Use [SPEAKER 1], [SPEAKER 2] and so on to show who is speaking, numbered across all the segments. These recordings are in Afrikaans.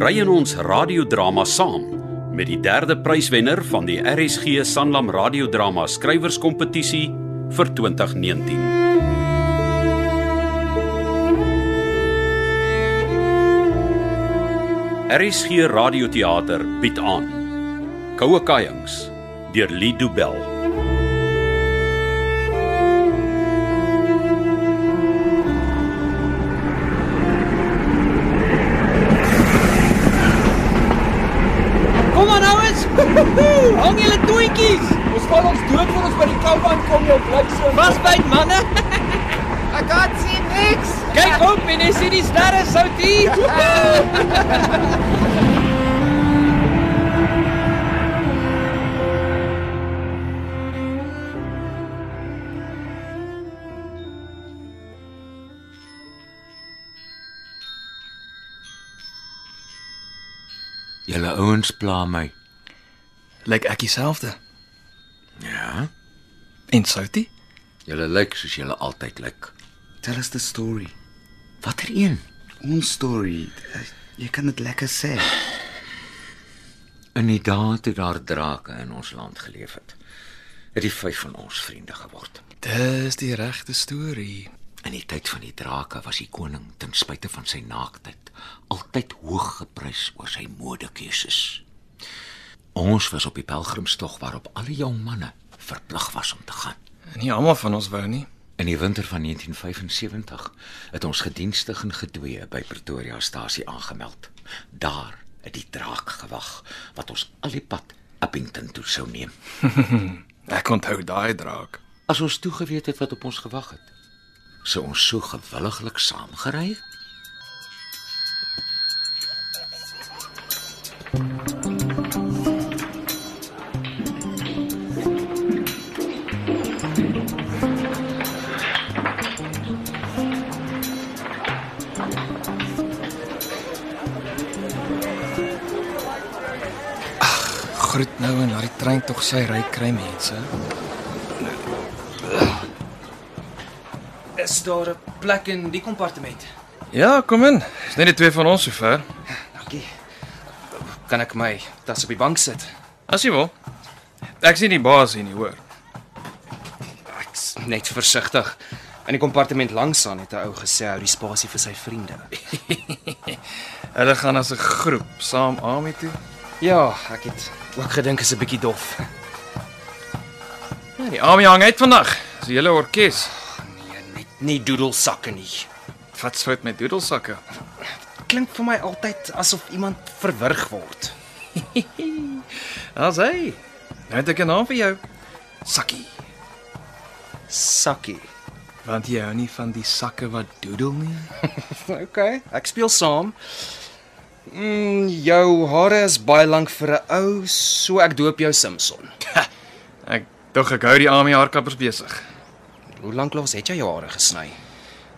[SPEAKER 1] ry in ons radiodrama saam met die derde pryswenner van die RSG Sanlam Radiodrama Skrywerskompetisie vir 2019. RSG Radioteater bied aan Koue Kajings deur Lido Bell.
[SPEAKER 2] Kom aan ouens. Woehoe, Hang julle toetjies.
[SPEAKER 3] Ons val ons dood voor ons by die kou aankom, jou bliksem.
[SPEAKER 2] Vasbyt manne.
[SPEAKER 4] Ek kan sien niks.
[SPEAKER 2] Kyk op en jy sien die sterre soutie.
[SPEAKER 5] Julle ouens pla my.
[SPEAKER 3] Lyk ek dieselfde.
[SPEAKER 5] Ja.
[SPEAKER 3] En Soutie?
[SPEAKER 5] Julle lyk soos julle altyd lyk.
[SPEAKER 6] Tell us the story.
[SPEAKER 5] Watter een?
[SPEAKER 6] Ons story. Eh, Jy kan dit lekker sê.
[SPEAKER 5] In die dae toe daar drake in ons land geleef het, het die vyf van ons vriende geword.
[SPEAKER 3] Dis die regte storie.
[SPEAKER 5] In die tyd van die drake was die koning ten spyte van sy naaktheid altyd hoog geprys oor sy modekeuses. Ons was op die pelgrimstog waarop alle jong manne verplig was om te gaan.
[SPEAKER 3] Nie almal van ons wou nie.
[SPEAKER 5] In die winter van 1975 het ons gedienstig en gedwee by Pretoria stasie aangemeld. Daar het die draak gewag wat ons al die pad Appington toe sou neem.
[SPEAKER 3] Ek onthou daai draak.
[SPEAKER 5] As ons toe geweet het wat op ons gewag het, sou ons so gewilliglik saamgery het.
[SPEAKER 3] Groet nou en laat die trein tog sy ry kry mense.
[SPEAKER 7] Is daar 'n plek in die kompartement?
[SPEAKER 3] Ja, kom in. Dis net die twee van ons sover.
[SPEAKER 7] Dankie. Kan ek my tas op die bank sit?
[SPEAKER 3] As jy wil. Ek sien die baas hier nie, hoor.
[SPEAKER 7] Ek's net versigtig. In die kompartement langs aan het 'n ou gesê hou die spasie vir sy vriende.
[SPEAKER 3] Hulle gaan as 'n groep saam Ami toe.
[SPEAKER 7] Ja, ek het ook gedink is 'n bietjie dof.
[SPEAKER 3] Ja, die Ami hang uit vandag. Dis 'n hele orkes.
[SPEAKER 7] Nee, net nie doedelsakke nie.
[SPEAKER 3] Wat sout met doedelsakke.
[SPEAKER 7] Klink vir my altyd asof iemand verwrig word.
[SPEAKER 3] As hy. Nou het ek 'n naam vir jou,
[SPEAKER 7] Sakkie. Sakkie.
[SPEAKER 3] want jy hou nie van die sakke wat doedel nie.
[SPEAKER 7] Okay, ek speel saam. Mm, jou hare is baie lank vir 'n ou, so ek doop jou Simpson.
[SPEAKER 3] Ek dog ek hou die Ami haarkappers besig.
[SPEAKER 7] Hoe lank lank het jy jou hare gesny?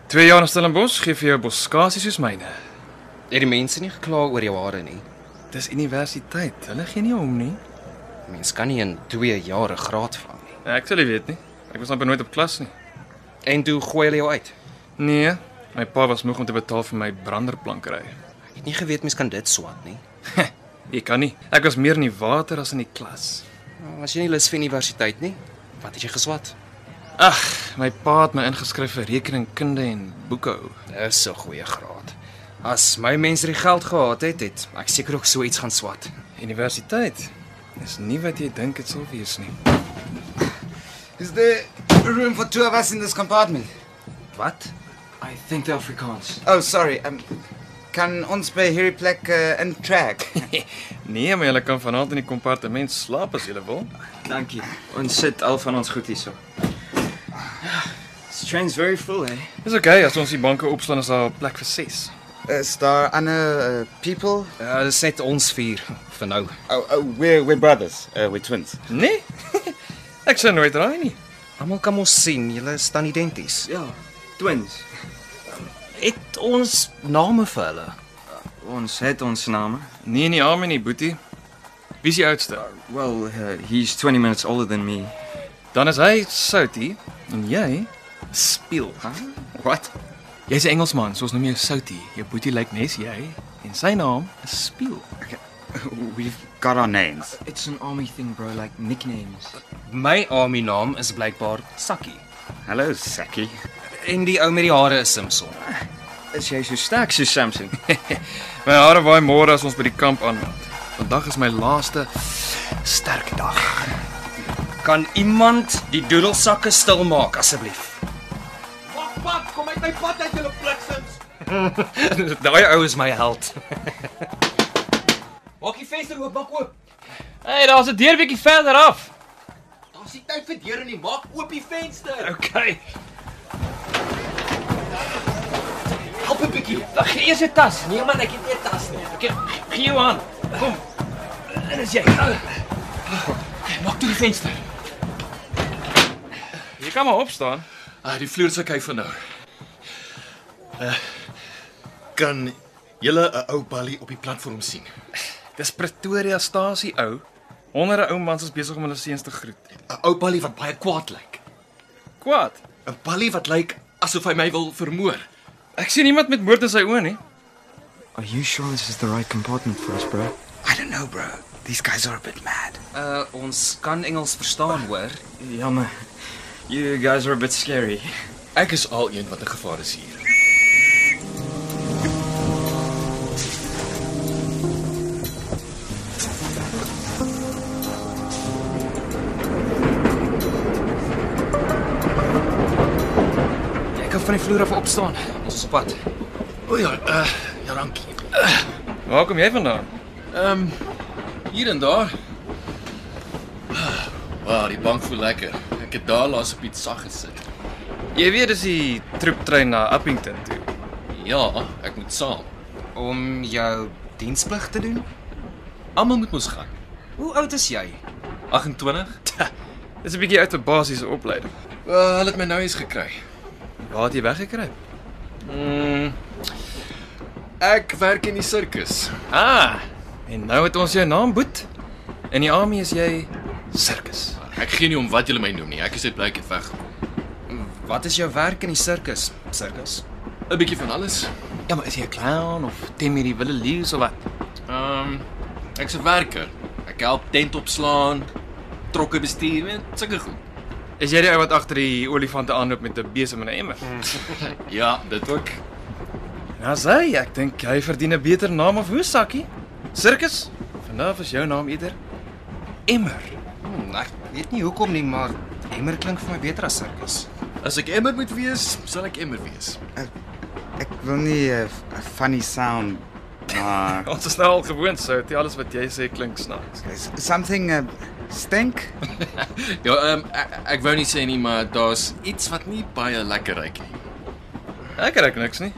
[SPEAKER 3] 2 jaar in Stellenbosch gee vir jou boskasie soos myne.
[SPEAKER 7] Het die mense nie gekla oor jou hare nie.
[SPEAKER 3] Dis universiteit. Hulle gee nie om nie.
[SPEAKER 7] Mens kan nie in 2 jaar 'n graad vang nie.
[SPEAKER 3] Ek sal nie weet nie. Ek was amper nooit op klas nie.
[SPEAKER 7] En toe gooi hulle jou uit.
[SPEAKER 3] Nee, my pa was moeg om te betaal vir my branderplankery.
[SPEAKER 7] Ek het nie geweet mens kan dit swat nie.
[SPEAKER 3] Jy kan nie. Ek was meer in die water as in die klas.
[SPEAKER 7] Nou, As jy nie lus vir universiteit nie, wat het jy geswat?
[SPEAKER 3] Ag, my pa het my ingeskryf vir rekeningkunde en boekhou.
[SPEAKER 7] Dis 'n goeie graad. As my mense die geld gehad het, het ek seker ook so iets gaan swat.
[SPEAKER 3] Universiteit. Dis nie wat jy dink dit sou wees nie.
[SPEAKER 6] Is there room for two of us in this compartment?
[SPEAKER 7] Wat?
[SPEAKER 4] I think the Afrikaans.
[SPEAKER 6] Oh, sorry. Um kan ons by hierdie plek
[SPEAKER 5] eh,
[SPEAKER 6] uh, in trek?
[SPEAKER 3] Nee, maar jy kan vanaand in die kompartement slaap as jy wil.
[SPEAKER 4] Dankie. Ons sit al van ons goed hierso. Train's very full, eh?
[SPEAKER 3] Dis okay as ons die banke opslaan is daar plek vir 6.
[SPEAKER 6] Is daar ander uh, people?
[SPEAKER 7] Uh, dis net ons vier vir nou.
[SPEAKER 6] Oh, oh, we're we're brothers. Uh, we're twins.
[SPEAKER 3] Nee. ek sou nooit raai nie.
[SPEAKER 7] Almal kan mos sien, julle staan identies.
[SPEAKER 4] Ja, twins.
[SPEAKER 7] Het ons name vir hulle?
[SPEAKER 4] Ons het ons name.
[SPEAKER 3] Nee, nie Amen nie, Boetie. Wie is die oudste?
[SPEAKER 4] Well, uh, he's 20 minutes older than me.
[SPEAKER 3] Dan is hy Soutie en jy speel.
[SPEAKER 4] What?
[SPEAKER 3] Jy's 'n Engelsman, so ons noem jou Soutie. Jou Boetie lyk nes jy en en sy naam is Spieël.
[SPEAKER 6] We've got our names.
[SPEAKER 4] It's an army thing, bro, like nicknames.
[SPEAKER 7] My army naam is blykbaar Sakkie
[SPEAKER 6] Hello, Saki.
[SPEAKER 7] en die ou met die hare is Simpson.
[SPEAKER 4] Is jy so sterk so Samson?
[SPEAKER 3] My hare waai môre as ons by die kamp aanmeld. Vandag is my laaste sterk dag.
[SPEAKER 7] Kan iemand die doedelsakke stilmaak asseblief? Wag, pap, kom uit my pad uit julle pliksims. Daai ou is my held.
[SPEAKER 3] Hey, daar's 'n deur bietjie verder af.
[SPEAKER 7] Okay.
[SPEAKER 3] Gee eers jou tas. Nee man, ek het nie 'n tas nie. Ek gee jou aan. Kom. En is jy. Maak toe die venster. Jy kan maar opstaan.
[SPEAKER 8] Ah, die vloer se kyk vir nou. Uh, kan julle 'n ou balie op die platform sien?
[SPEAKER 3] Dis Pretoria stasie ou. Honderde ou mans is besig om hulle seuns te groet.
[SPEAKER 8] 'n Ou balie wat baie kwaad lyk.
[SPEAKER 3] Kwaad.
[SPEAKER 8] 'n Balie wat lyk asof hy my wil vermoor.
[SPEAKER 3] Ek sien iemand met moord in sy oë nie.
[SPEAKER 4] Are you sure this is the right compartment for us, bro?
[SPEAKER 6] I don't know, bro. These guys are a bit mad.
[SPEAKER 7] Uh ons kan Engels verstaan, hoor.
[SPEAKER 4] Jammer. You guys are a bit scary.
[SPEAKER 8] Ek is al een wat 'n gevaar is hier.
[SPEAKER 7] Jy kan van die vloer af opstaan. Ons is op pad.
[SPEAKER 8] O ja, uh, ja, dankie.
[SPEAKER 3] Waar kom jy vandaan?
[SPEAKER 8] Ehm um, hier en daar. Wow, die bank voel lekker. Ek het daar laas op iets sag gesit.
[SPEAKER 3] Jy weet dis die troeptrein na Appington toe.
[SPEAKER 8] Ja, ek moet saam.
[SPEAKER 7] Om jou diensplig te doen?
[SPEAKER 8] Almal moet mos gaan.
[SPEAKER 7] Hoe oud is jy?
[SPEAKER 8] 28?
[SPEAKER 3] Dis 'n bietjie uit 'n basiese opleiding.
[SPEAKER 8] Uh, hulle het my nou eens gekry.
[SPEAKER 3] Waar het jy weggekruip?
[SPEAKER 8] Mm. Ek werk in die sirkus.
[SPEAKER 3] Ah, en nou het ons jou naam boet. In die army is jy sirkus.
[SPEAKER 8] Ek gee nie om wat julle my noem nie. Ek is net bly ek het weggekom.
[SPEAKER 7] Wat is jou werk in die sirkus? Sirkus?
[SPEAKER 8] 'n Bietjie van alles.
[SPEAKER 3] Ja, maar is jy 'n clown of Timmy die wilde leeu of wat?
[SPEAKER 8] Ehm um, ek's 'n werker. Ek help tent opslaan, trokke bestuur, weet, sulke goed.
[SPEAKER 3] Is jy die ou wat agter die olifante aanloop met 'n besem en 'n emmer?
[SPEAKER 8] Ja, dit ook.
[SPEAKER 3] Nou sê ek dink hy verdien 'n beter naam of hoe sakkie? Sirkus? Vanaf is jou naam eerder emmer.
[SPEAKER 7] Hmm, ek weet nie hoekom nie, maar emmer klink vir my beter as sirkus.
[SPEAKER 8] As ek emmer moet wees, sal ek emmer wees.
[SPEAKER 6] Ek wil nie 'n uh, funny sound maak.
[SPEAKER 3] Ons is nou al gewoond sou, dit alles wat jy sê klink snaaks.
[SPEAKER 6] S- Something uh, stink?
[SPEAKER 8] Ja, ehm um, ek, ek wou nie sê nie, maar daar's iets wat nie baie lekker ruik nie.
[SPEAKER 3] Ek kry niks nie.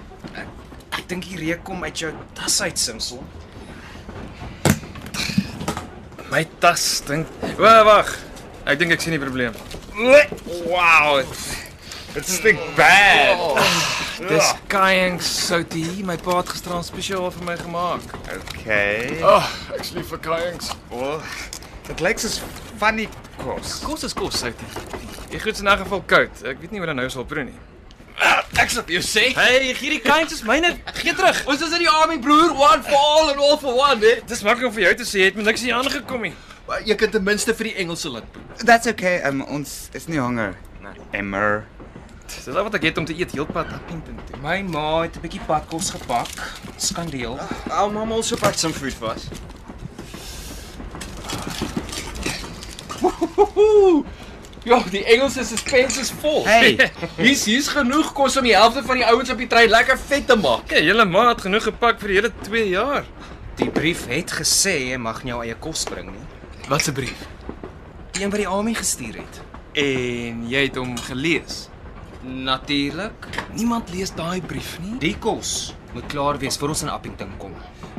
[SPEAKER 7] Ek dink die reuk kom uit jou tas uit, Simsel.
[SPEAKER 3] My tas stink. O, wag. Ek dink ek sien die probleem. Wow. Dit stink bad. Oh, dis cayenne soutie. My pa het gisteraan spesiaal vir my gemaak.
[SPEAKER 6] Okay.
[SPEAKER 8] Ag, oh, ek's lief vir kajings.
[SPEAKER 6] Dit lyk soos funny kos.
[SPEAKER 3] Kos is kos soutie. Die goed is in elk geval koud. Ek weet nie wat dan nou sal proe nie.
[SPEAKER 8] Ah, Ek sê jy sê,
[SPEAKER 3] Hey, gee die cayenne is myne. Gee terug.
[SPEAKER 8] ons is in die army broer, one for all and all for one, hè.
[SPEAKER 3] Dis maklik om vir jou te sê, jy het met niks hier aangekom nie.
[SPEAKER 8] Maar Jy kan ten minste vir die Engelse land proe.
[SPEAKER 6] That's okay. Um, ons is nie honger. Emmer.
[SPEAKER 3] Dis al wat ek het om te eet heelpad na Pinten toe.
[SPEAKER 7] My ma het 'n bietjie padkos gepak. Ons kan deel.
[SPEAKER 4] Our mom also packed some food for us.
[SPEAKER 8] Ja, die Engelse se spens is vol.
[SPEAKER 6] Hey.
[SPEAKER 8] Hier's hier's genoeg kos om die helfte van die ouens op die trein lekker vet te maak.
[SPEAKER 3] Okay, Ja, julle ma het genoeg gepak vir die hele 2 jaar.
[SPEAKER 7] Die brief het gesê jy mag nie jou eie kos bring nie.
[SPEAKER 8] Wat 'n brief.
[SPEAKER 7] Die een wat die army gestuur het.
[SPEAKER 3] En jy het hom gelees.
[SPEAKER 7] Natuurlik.
[SPEAKER 3] Niemand lees daai brief nie.
[SPEAKER 7] Die kos moet klaar wees voor ons in Appington kom.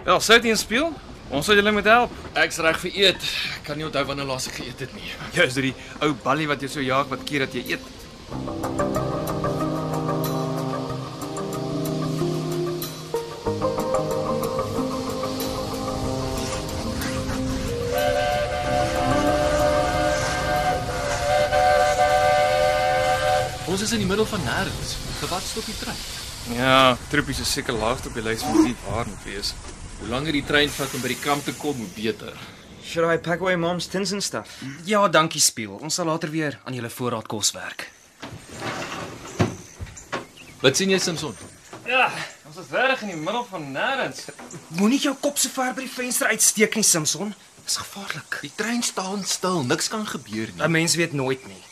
[SPEAKER 3] Wel, sou dit speel? Ons sal julle moet help.
[SPEAKER 8] Ek's reg vir eet. Ek kan nie onthou wanneer laas ek geëet het nie.
[SPEAKER 3] Jy Ja, is hierdie ou ballie wat jou so jaag wat keer dat jy eet.
[SPEAKER 8] Ons is in die middel van nêrens. Gewat stop die trein.
[SPEAKER 3] Ja, troepies is seker laagste op die lys van wie waar moet wees.
[SPEAKER 8] Hoe langer die trein vat om by die kamp te kom, hoe beter.
[SPEAKER 7] Should I pack away mom's tins and stuff? Ja, dankie Spieel. Ons sal later weer aan julle voorraad kos werk.
[SPEAKER 8] Wat sien jy Samson?
[SPEAKER 3] Ja, ons is reg in die middel van nêrens.
[SPEAKER 7] Moenie jou kop so ver by die venster uitsteek nie, Simpson. Dis gevaarlik.
[SPEAKER 8] Die trein staan stil, niks kan gebeur
[SPEAKER 7] 'n Mens weet nooit nie.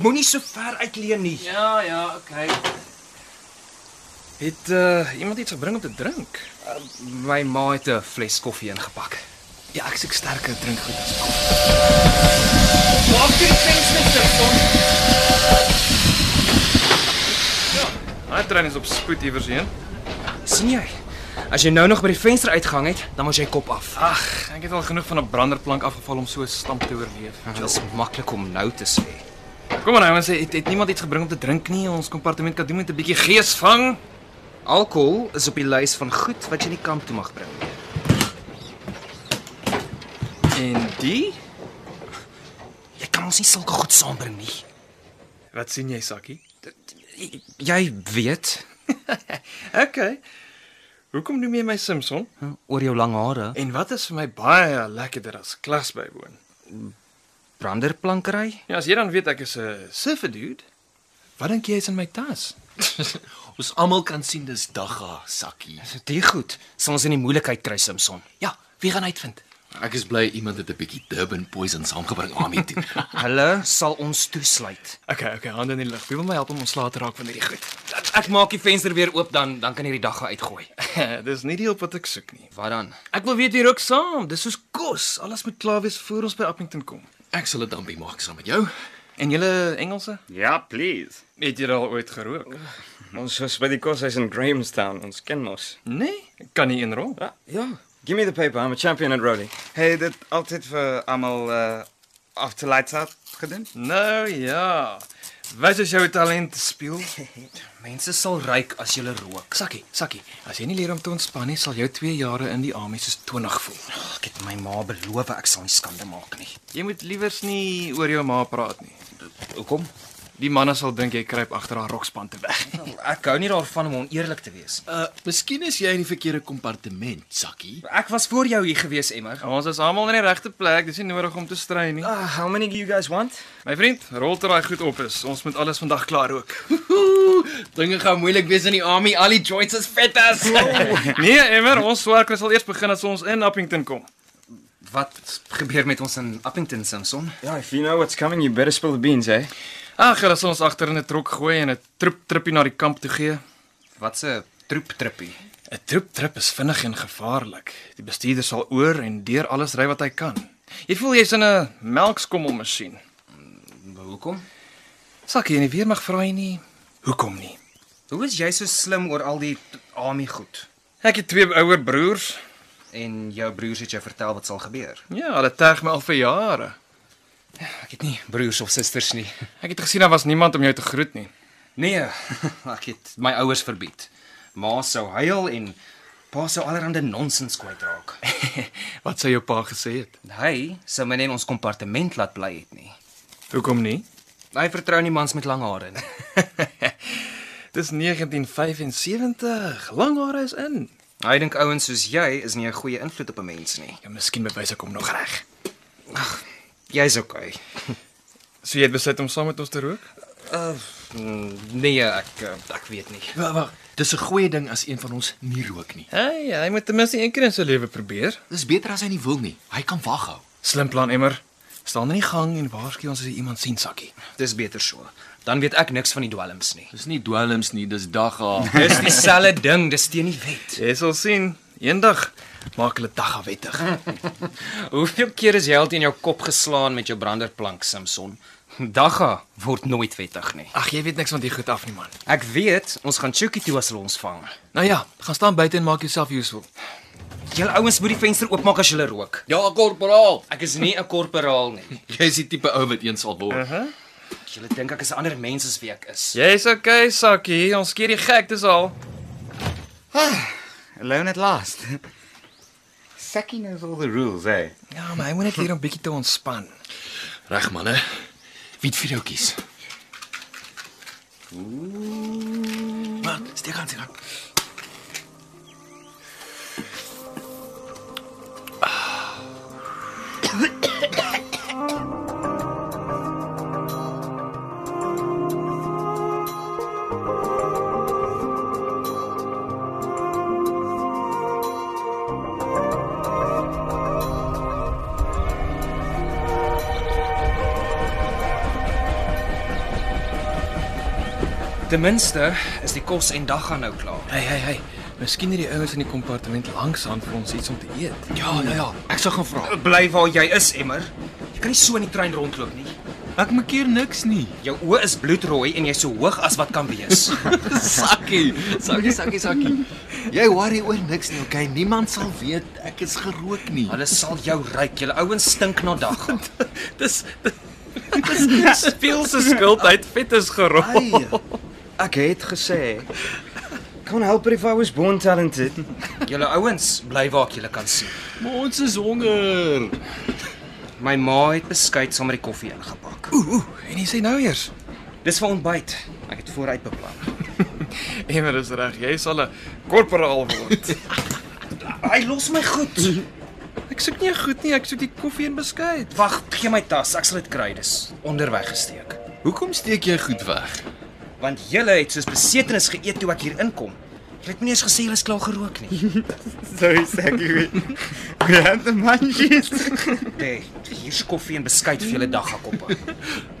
[SPEAKER 7] Moenie so ver uitleen nie.
[SPEAKER 3] Ja, ja, okay.
[SPEAKER 7] Het uh, iemand iets
[SPEAKER 3] Bring om te drink.
[SPEAKER 7] Eh, My ma het 'n fles koffie ingepak.
[SPEAKER 3] Ja, ek suk sterker drink goed as koffie. Maak die trein net op son. Ja, hy trein is op spoed iewers heen.
[SPEAKER 7] sien jy? As jy nou nog by die venster uitgang het, dan moet jy kop af.
[SPEAKER 3] Ag, ek het al genoeg van 'n branderplank afgeval om so 'n stamp te oorleef.
[SPEAKER 7] Ah, Dit is maklik om nou te sê.
[SPEAKER 3] Kom maar nou, ons het, het niemand iets gebring om te drink nie. Ons kompartement kan doen met 'n bietjie geesvang.
[SPEAKER 7] Alkohol is op die lys van goed wat jy nie kamp toe mag bring nie.
[SPEAKER 3] En die?
[SPEAKER 7] Jy kan ons nie sulke goed saambring nie.
[SPEAKER 3] Wat sien jy, Sakkie?
[SPEAKER 7] J- Jy weet,
[SPEAKER 3] Okay. Hoekom noem jy my Simpson?
[SPEAKER 7] oor jou lang hare,
[SPEAKER 3] En wat is vir my baie lekkerder as klas bywoon?
[SPEAKER 7] branderplankery.
[SPEAKER 3] Ja, as jy dan weet ek is 'n surfer dude, wat dink jy is in my tas?
[SPEAKER 8] Ons almal kan sien dis dagga, sakkie.
[SPEAKER 7] Dit goed. Sal ons in die moeilikheid kry, Simpson.
[SPEAKER 8] Ja, wie gaan uitvind? Ek is bly iemand het 'n bietjie Durban poison saamgebring aan my toe.
[SPEAKER 7] Ja, Hulle sal ons toesluit.
[SPEAKER 3] Okay, okay, hande in die lug. Wie wil my help om ontslae te raak van hierdie goed?
[SPEAKER 7] Ek maak die venster weer oop dan dan kan hierdie dag gaan uitgooi.
[SPEAKER 3] Dis nie die hulp wat ek soek nie.
[SPEAKER 7] Wat dan?
[SPEAKER 3] Ek wil weet hier ook saam. Dis soos kos. Alles moet klaar wees voor ons by Appington kom.
[SPEAKER 8] Ek sal dit dan by maak saam met jou.
[SPEAKER 3] En julle Engelse?
[SPEAKER 9] Ja, please.
[SPEAKER 3] Het julle al ooit gerook?
[SPEAKER 9] Ons was by die koshuis in Grahamstown. Ons ken mos.
[SPEAKER 3] Nee, ek kan nie inrol.
[SPEAKER 9] Ja, ja. Give me the paper. I'm a champion at rolling.
[SPEAKER 6] Hey, dit altyd vir almal uh af te lights out gedoen?
[SPEAKER 3] Nou ja. Wat is jou talent speel?
[SPEAKER 7] Mense sal ryk as jy rook.
[SPEAKER 3] Sakkie, Sakkie, as jy nie leer om te ontspan nie, sal jou 2 jare in die army soos 20 voel.
[SPEAKER 7] Ek het my ma beloof ek sal nie skande maak nie.
[SPEAKER 3] Jy moet liewers nie oor jou ma praat nie.
[SPEAKER 7] Hoekom?
[SPEAKER 3] Die manne sal dink jy kruip agter haar rokspan te weg.
[SPEAKER 7] Ek hou nie daarvan om oneerlik te wees.
[SPEAKER 8] Uh, miskien is jy in die verkeerde kompartement, sakkie.
[SPEAKER 7] Ek was voor jou hier gewees, Emmer.
[SPEAKER 3] Ons is almal in die regte plek, dis nie nodig om te strei nie.
[SPEAKER 8] Ah.
[SPEAKER 4] Ah,
[SPEAKER 7] Uh, how many do you guys want?
[SPEAKER 3] My vriend, rol ter daai goed op is. Ons moet alles vandag klaar rook.
[SPEAKER 8] Dinge gaan moeilik wees in die army. Al die joints is vet as.
[SPEAKER 3] Nee, Emmer, ons swerker sal eers begin as ons in Appington kom.
[SPEAKER 7] Wat gebeur met ons in Appington, Samson?
[SPEAKER 9] Yeah, if you know what's coming, you better spill the beans, eh?
[SPEAKER 3] Ag, hulle sal ons agter in 'n trok gooi en 'n troep trippie na die kamp toe gee.
[SPEAKER 7] Wat 'n troep trippie.
[SPEAKER 3] 'n Troep trip is vinnig en gevaarlik. Die bestuurder sal oor en deur alles ry wat hy kan. Jy voel jy's in 'n melkskommelmasjien. Mm,
[SPEAKER 7] Hoekom?
[SPEAKER 3] Sakkie, en die weermag vra jy nie hoekom nie.
[SPEAKER 7] Hoe is jy so slim oor al die army goed?
[SPEAKER 3] Ek het twee ouer broers.
[SPEAKER 7] En jou broers het jou vertel wat sal gebeur.
[SPEAKER 3] Ja, hulle terg my al vir jare.
[SPEAKER 7] Ek het nie broers of susters nie.
[SPEAKER 3] Ek het gesien daar was niemand om jou te groet nie.
[SPEAKER 7] Nee, ek het my ouers verbied. Ma sou huil en pa sou allerlei nonsens kwytraak.
[SPEAKER 3] Wat sê jou pa gesê het?
[SPEAKER 7] Hy sou my net in ons kompartement laat bly het nie.
[SPEAKER 3] Hoekom nie?
[SPEAKER 7] Hy vertrou nie mans met lang hare nie.
[SPEAKER 3] Dis 1975. Lang hare is in.
[SPEAKER 7] Hy dink ouens soos jy is nie 'n goeie invloed op 'n mens nie.
[SPEAKER 3] Ja, miskien bewys ek hom nog reg.
[SPEAKER 7] Jy's okay.
[SPEAKER 3] So jy het besluit om saam met ons te rook?
[SPEAKER 7] Nee, ek eh, ek weet nie.
[SPEAKER 8] Wag, wag. Dis 'n goeie ding as een van ons nie rook nie.
[SPEAKER 3] Hey, hy moet ten minste een keer in sy lewe probeer.
[SPEAKER 8] Dis beter as hy nie wil nie. Hy kan waghou.
[SPEAKER 3] Slim plan, Emmer. Staan in die gang en waarsku ons as jy iemand sien, Sakkie.
[SPEAKER 7] Dis beter so. Dan weet ek niks van die dwelms nie.
[SPEAKER 8] Dis nie dwelms nie, dis dagga.
[SPEAKER 7] Dis dieselfde ding, dis teen die wet.
[SPEAKER 3] Jy sal sien. Eendag maak hulle dag afwettig.
[SPEAKER 7] Hoeveel keer is jy al teen jou kop geslaan met jou branderplank, Samson? Dagga word nooit wettig nie.
[SPEAKER 3] Ag, jy weet niks van die goed af nie, man.
[SPEAKER 7] Ek weet, ons gaan Chucky toe as hulle ons vang.
[SPEAKER 3] Nou ja, gaan staan buite en maak jouself useful.
[SPEAKER 7] Julle ouens moet die venster oopmaak as julle rook.
[SPEAKER 8] Ja, korporaal.
[SPEAKER 7] Ek is nie 'n korporaal nie.
[SPEAKER 8] Jy is die tipe ou wat eens sal word.
[SPEAKER 7] Julle dink ek is 'n ander mens as wie ek is.
[SPEAKER 3] Jy's okay, Sakkie. Ons keer die gek dis al.
[SPEAKER 6] Alone at last. Saki knows all the rules, eh?
[SPEAKER 3] Ja, maar hy moet net leer om bietjie te ontspan.
[SPEAKER 8] Reg man, hè? Wie het vir jou kies? Man, steek aan, steek aan.
[SPEAKER 7] Ten minste is die kos en dag gaan nou klaar.
[SPEAKER 3] Hey hey hey. Miskien hierdie ouens in die kompartement langs aan vir ons iets om te eet.
[SPEAKER 7] Ja, nou ja, ek sal gaan vra. Bly waar jy is, Emmer. Jy kan nie so in die trein rondloop nie.
[SPEAKER 3] Ek maak hier niks nie.
[SPEAKER 7] Jou oë is bloedrooi en jy's so hoog as wat kan wees.
[SPEAKER 5] Sakkie, sakkie, sakkie, sakkie. Jy worry oor niks nie, okay? Niemand sal weet ek is gerook nie.
[SPEAKER 7] Hulle sal jou ryk. Julle ouens stink na dag.
[SPEAKER 3] Dis dis speel se skuld uit vet is gerol.
[SPEAKER 4] Ai. Ek het gesê Can't help it if I was born talented.
[SPEAKER 7] Julle ouens bly waar ek julle kan sien.
[SPEAKER 3] Maar ons is honger.
[SPEAKER 7] My ma het beskuit saam met die koffie ingepak.
[SPEAKER 3] Ooh, en jy sê nou eers.
[SPEAKER 7] Dis vir ontbyt. Ek het vooruit beplan.
[SPEAKER 3] Emmer is Nee, reg, jy sal 'n korporaal word.
[SPEAKER 7] Hy los my goed.
[SPEAKER 3] ek soek nie goed nie, ek soek die koffie en beskuit.
[SPEAKER 7] Wag, gee my tas. Ek sal dit kry. Dis onderweg gesteek.
[SPEAKER 8] Hoekom steek jy goed weg?
[SPEAKER 7] Want julle het soos besetenis geëet toe ek hier inkom. Julle het my nie eens gesê julle is klaar gerook nie.
[SPEAKER 9] Sorry, Sakkie. Grande manjies.
[SPEAKER 7] Nee, hier's koffie en beskuit vir julle daggakoppe.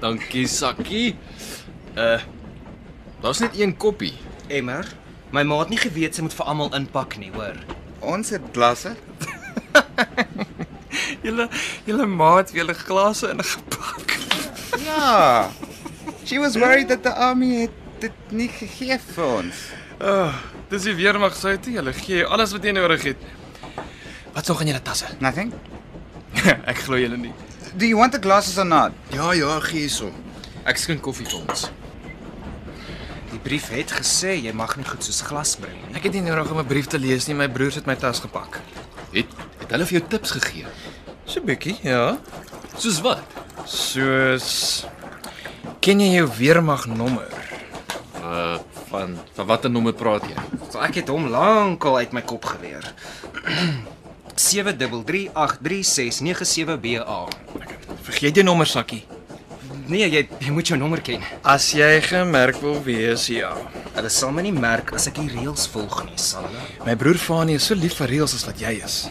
[SPEAKER 8] Dankie, Sakkie. Uh Daar's net een koppie.
[SPEAKER 7] Emmer, my ma het nie geweet sy moet vir almal inpak nie, hoor.
[SPEAKER 9] Ons het glasse.
[SPEAKER 3] Julle julle maat, julle glase ingepak.
[SPEAKER 9] Ja. She was worried that the army het dit nie gegee vir ons.
[SPEAKER 3] Uh, dis die weermag soutie. Hulle gee jou alles wat jy nodig het.
[SPEAKER 7] Wat's nog in julle tasse?
[SPEAKER 9] Nothing.
[SPEAKER 3] ek glo julle nie.
[SPEAKER 9] Do you want the glasses or not?
[SPEAKER 8] Ja, ja, gee hierso. Ek skink koffie vir ons.
[SPEAKER 7] Die brief het gesê jy mag nie goed soos glas bring nie.
[SPEAKER 3] Ek het nie nodig om 'n brief te lees nie. My broers het my tas gepak.
[SPEAKER 8] Het het hulle vir jou tips gegee?
[SPEAKER 3] So 'n bietjie, ja.
[SPEAKER 8] Soos wat?
[SPEAKER 3] Soos Ken jy jou weermag nommer?
[SPEAKER 8] Uh van van watter nommer praat jy?
[SPEAKER 7] So ek het hom lankal uit my kop geleer. 7338369BA.
[SPEAKER 3] Vergeet jou nommer sakkie.
[SPEAKER 7] Nee, jy jy moet jou nommer ken.
[SPEAKER 3] As jy gemerk wil wees, ja.
[SPEAKER 7] Hulle sal my nie merk as ek die reëls volg nie, sal hulle.
[SPEAKER 3] My broer Fanie is so lief vir reëls as wat jy is.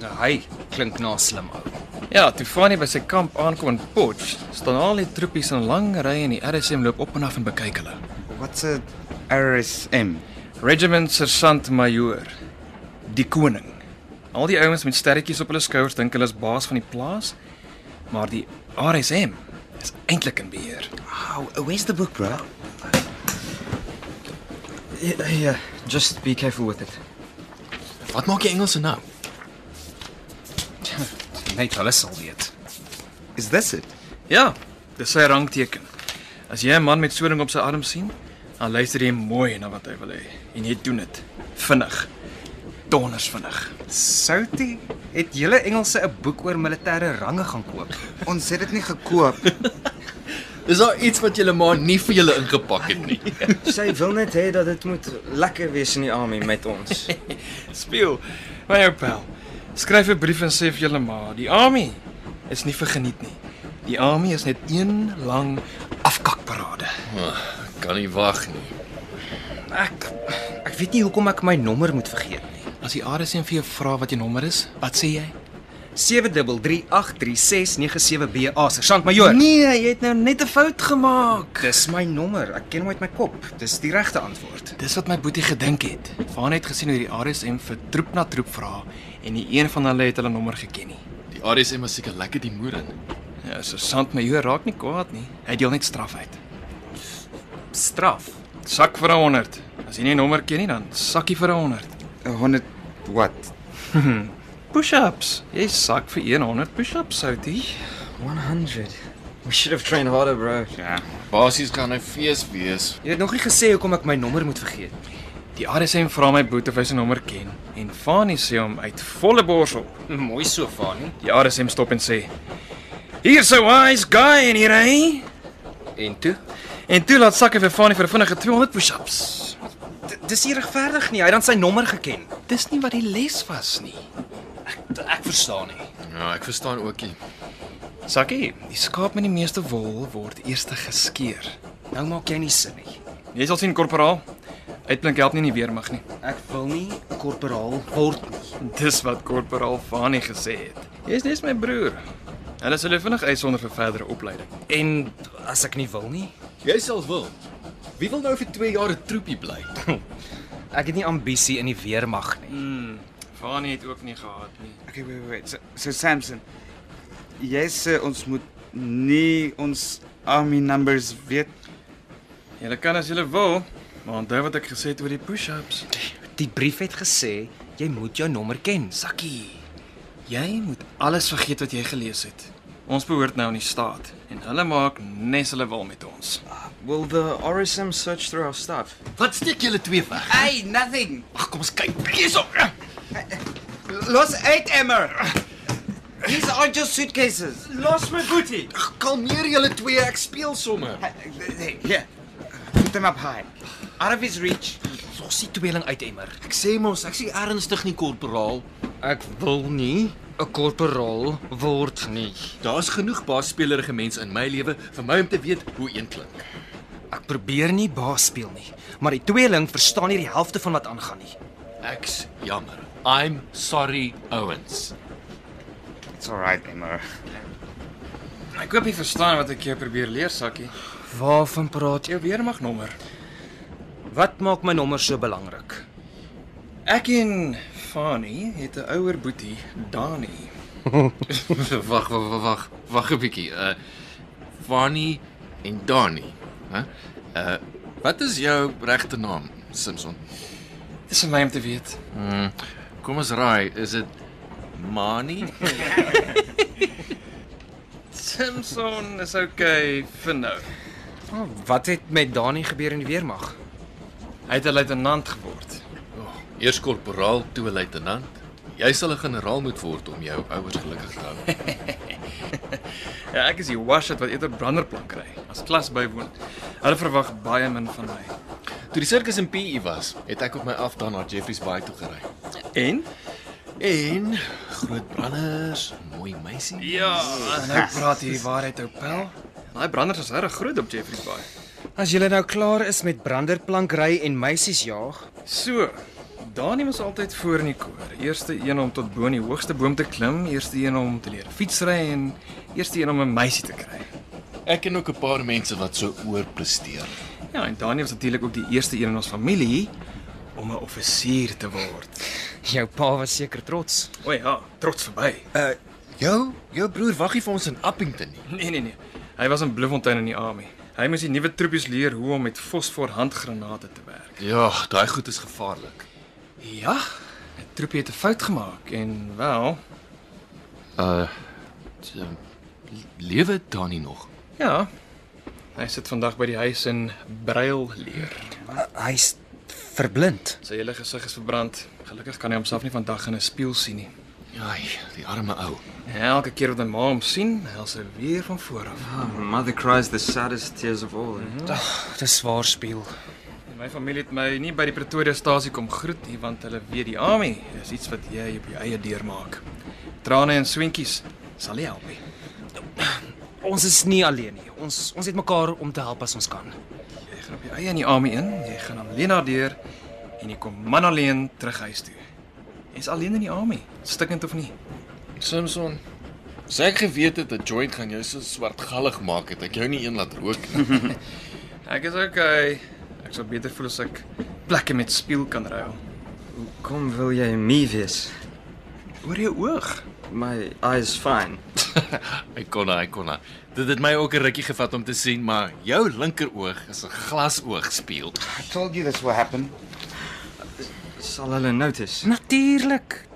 [SPEAKER 7] Nou, hy klink na 'n slim ou.
[SPEAKER 3] Ja, toe Fanie by sy kamp aankom in Potch, staan al die troepies in lang rye en die RSM loop op en af en bekyk hulle.
[SPEAKER 9] What's a RSM?
[SPEAKER 3] Regiment Sergeant Majoor. Die koning. Al die ouens met sterretjies op hulle skouers dink hulle is baas van die plaas, maar die RSM is eintlik in beheer.
[SPEAKER 4] How, where's the book, bro? Yeah, yeah, ja, just be careful with it.
[SPEAKER 8] Wat maak jy Engelse nou?
[SPEAKER 7] Net hulle sal weet.
[SPEAKER 9] Is this it?
[SPEAKER 3] Ja, dis sy rangteken. As jy 'n man met so 'n ding op sy arm sien, dan luister jy mooi na wat hy wil hê en jy doen dit vinnig. Donders vinnig.
[SPEAKER 7] Soutie, het julle Engelse 'n boek oor militêre range gaan koop?
[SPEAKER 9] Ons het dit nie gekoop.
[SPEAKER 8] Is daar iets wat julle maar nie vir julle ingepak het nie?
[SPEAKER 4] Sy wil net hê dat dit moet lekker wees in die army met ons.
[SPEAKER 3] Speel. Maar jou pel. Skryf 'n brief en sê vir julle ma, die army is nie vir geniet nie. Die army is net een lang afkakparade.
[SPEAKER 8] Kan nie wag nie.
[SPEAKER 7] Ek ek weet nie hoekom ek my nommer moet vergeet nie.
[SPEAKER 3] As die RSM vir jou vra wat jou nommer is, wat sê jy?
[SPEAKER 7] 7338369BA, sergeant majoor.
[SPEAKER 4] Nee, jy het nou net 'n fout gemaak.
[SPEAKER 7] Dis my nommer. Ek ken hom uit my kop. Dis die regte antwoord.
[SPEAKER 3] Dis wat my boetie gedink het. Vaan het gesien hoe die RSM vir troep na troep vra en nie een van hulle het hulle nommer geken nie.
[SPEAKER 8] Die RSM is seker lekker die moer in.
[SPEAKER 3] Ja, Sergeant Majoor raak nie kwaad nie. Hy deel net straf uit.
[SPEAKER 7] Straf.
[SPEAKER 3] Sak vir 'n 100. As jy nie 'n nommer ken nie, dan sakkie vir 'n 100.
[SPEAKER 9] 100 wat?
[SPEAKER 3] Push-ups. Jy sak vir 100 push-ups, Soutie.
[SPEAKER 4] 100. We should have trained harder, bro.
[SPEAKER 8] Basies gaan hy fees wees.
[SPEAKER 7] Jy het nog nie gesê hoekom ek my nommer moet vergeet nie.
[SPEAKER 3] Die RSM vra my boet of hy sy nommer ken en Fanie sê hom uit volle bors op.
[SPEAKER 7] Mooi so vaar nie.
[SPEAKER 3] Die RSM stop en sê: "Hier's 'n wise guy in hier, hè?"
[SPEAKER 7] En toe?
[SPEAKER 3] En toe laat sak hy vir Fanie vir 'n vinnige 200 push-ups.
[SPEAKER 7] D dis nie regverdig nie. Hy het dan sy nommer geken.
[SPEAKER 3] Dis nie wat die les was nie.
[SPEAKER 7] Ek verstaan nie.
[SPEAKER 8] Ja, ek verstaan ook nie.
[SPEAKER 3] Sakkie, die skaap met die meeste wol word eers geskeer.
[SPEAKER 7] Nou maak jy nie sin nie.
[SPEAKER 3] Jy sal sien, korporaal. Uitblink help nie in die weermag nie.
[SPEAKER 7] Ek wil nie 'n korporaal word nie.
[SPEAKER 3] Dis wat korporaal Fanie gesê het. Jy's net my broer. Hulle sal jou vinnig eis sonder vir verdere opleiding.
[SPEAKER 7] En as ek nie wil nie,
[SPEAKER 8] Jy sal wil. Wie wil nou vir 2 jaar 'n troepie bly?
[SPEAKER 7] Ek het nie ambisie in die weermag nie.
[SPEAKER 3] Mm. Fani het ook nie gehad nie.
[SPEAKER 9] Okay, wait, wait. wait. So, so Samson, jy sê ons moet nie ons army numbers weet.
[SPEAKER 3] Julle kan as julle wil, maar onthou wat ek gesê het oor die push-ups.
[SPEAKER 7] Die brief het gesê jy moet jou nommer ken, Sakkie.
[SPEAKER 3] Jy moet alles vergeet wat jy gelees het. Ons behoort nou aan die staat en hulle maak nes hulle wil met ons.
[SPEAKER 4] Ah, Will the RSM search through our stuff?
[SPEAKER 8] Wat steek julle twee weg?
[SPEAKER 9] Hey, nothing.
[SPEAKER 8] Ag, kom ons kyk. Hierso.
[SPEAKER 9] Los uit, Emmer. These are just suitcases.
[SPEAKER 4] Los my booty.
[SPEAKER 8] Ag, kalmeer julle twee. Ek speel sommer.
[SPEAKER 9] Hey, here. Put them up high. Out of his reach.
[SPEAKER 7] Los die tweeling uit, Emmer.
[SPEAKER 8] Ek sê mos, ek sê ernstig nie korporaal.
[SPEAKER 7] Ek wil nie 'n korporaal word nie.
[SPEAKER 8] Daar's genoeg baasspelerige mense in my lewe vir my om te weet hoe een klink.
[SPEAKER 7] Ek probeer nie baas speel nie, maar die tweeling verstaan nie die helfte van wat aangaan nie.
[SPEAKER 8] Ek's jammer. I'm sorry, Owens.
[SPEAKER 9] It's all right, Emmer.
[SPEAKER 3] Ek hoop jy verstaan wat ek jou probeer leer, Sakkie.
[SPEAKER 7] Waarvan praat jy?
[SPEAKER 3] Jou weermagnommer.
[SPEAKER 7] Wat maak my nommer so belangrik?
[SPEAKER 3] Ek en Fani het 'n ouer boetie, Dani.
[SPEAKER 8] wag, wag, wag, wag. Wag 'n bietjie. Uh Fanny en Dani, hè? Uh wat is jou regte naam, Simpson?
[SPEAKER 3] Dis vir my om te weet.
[SPEAKER 8] Kom ons raai, is dit Mani?
[SPEAKER 3] Simpson is okay vir nou.
[SPEAKER 7] Oh, wat het met Dani gebeur in die weermag?
[SPEAKER 3] Hy het 'n luitenant geword.
[SPEAKER 8] Eers Oh, korporaal, toe luitenant. Jy sal 'n generaal moet word om jou ouers gelukkig te hou.
[SPEAKER 3] Ja, ek is die washat wat eerder branderplan kry as klas bywoon. Hulle verwag baie min van my.
[SPEAKER 8] Toe die sirkus in PE was, het ek op my afdan na Jeffreys Bay toe gery.
[SPEAKER 3] En
[SPEAKER 8] En groot branders, mooi meisie.
[SPEAKER 3] ja, nou praat jy die waarheid, ou pel. Daai branders is reg groot op Jeffrey's Bay.
[SPEAKER 7] As jy nou klaar is met branderplankry en meisies jaag,
[SPEAKER 3] So, Dani was altyd voor in die koor. Eerste een om tot bo in die hoogste boom te klim, eerste een om te leer fietsry en eerste een om 'n meisie te kry.
[SPEAKER 8] Ek ken ook 'n paar mense wat so oorpresteer.
[SPEAKER 3] Ja, en Dani was natuurlik ook die eerste een in ons familie om 'n offisier te word.
[SPEAKER 7] jou pa was seker trots.
[SPEAKER 3] O ja, trots verby.
[SPEAKER 8] Uh jou, jou broer waggie vir ons in Appington nie.
[SPEAKER 3] Nee nee nee. Hy was in Bloemfontein in die army. Hy moes die nuwe troepies leer hoe om met fosfor handgranate te werk.
[SPEAKER 8] Ja, daai goed is gevaarlik.
[SPEAKER 3] Ja, 'n troepie het 'n fout gemaak en wel,
[SPEAKER 8] Uh so, lewe Dani nog.
[SPEAKER 3] ja. Hy sit vandag by die huis in Brail leer.
[SPEAKER 7] Uh, Hy's verblind.
[SPEAKER 3] Sy hele gesig is verbrand. Gelukkig kan hy homself nie vandag in 'n spieël sien nie.
[SPEAKER 8] Ja, die arme ou.
[SPEAKER 3] En elke keer wat hy ma hom sien, hel sy weer van voor af.
[SPEAKER 4] Oh, mother cries the saddest tears of all.
[SPEAKER 7] Dis swaar speel.
[SPEAKER 3] En my familie het my nie by die Pretoria stasie kom groet nie, want hulle weet die army is iets wat jy op jou eie deurmaak. Trane en swentjies sal nie help nie.
[SPEAKER 7] Ons is nie alleen nie. Ons ons het mekaar om te help as ons kan.
[SPEAKER 3] Jy gaan op jou eie in die army in, jy gaan alleen na deur en jy kom man alleen terug huis toe. Jy's alleen in die army, stikkend of nie.
[SPEAKER 8] Simpson. Sê ek geweet het dat joint gaan jou so swartgallig maak het ek jou nie een laat rook nie.
[SPEAKER 3] Ek is okay. Ek sou beter voel as ek plekke met spieël kan ruil.
[SPEAKER 4] Kom wil jy me wees?
[SPEAKER 3] Oor jou oog.
[SPEAKER 4] My eyes fine.
[SPEAKER 8] Hy kon hy kon. hy. Dit het my ook 'n rukkie gevat om te sien, maar jou linkeroog is 'n glasoog speel.
[SPEAKER 9] I told you this will happen.
[SPEAKER 4] Sal hulle notice?
[SPEAKER 7] Natuurlik.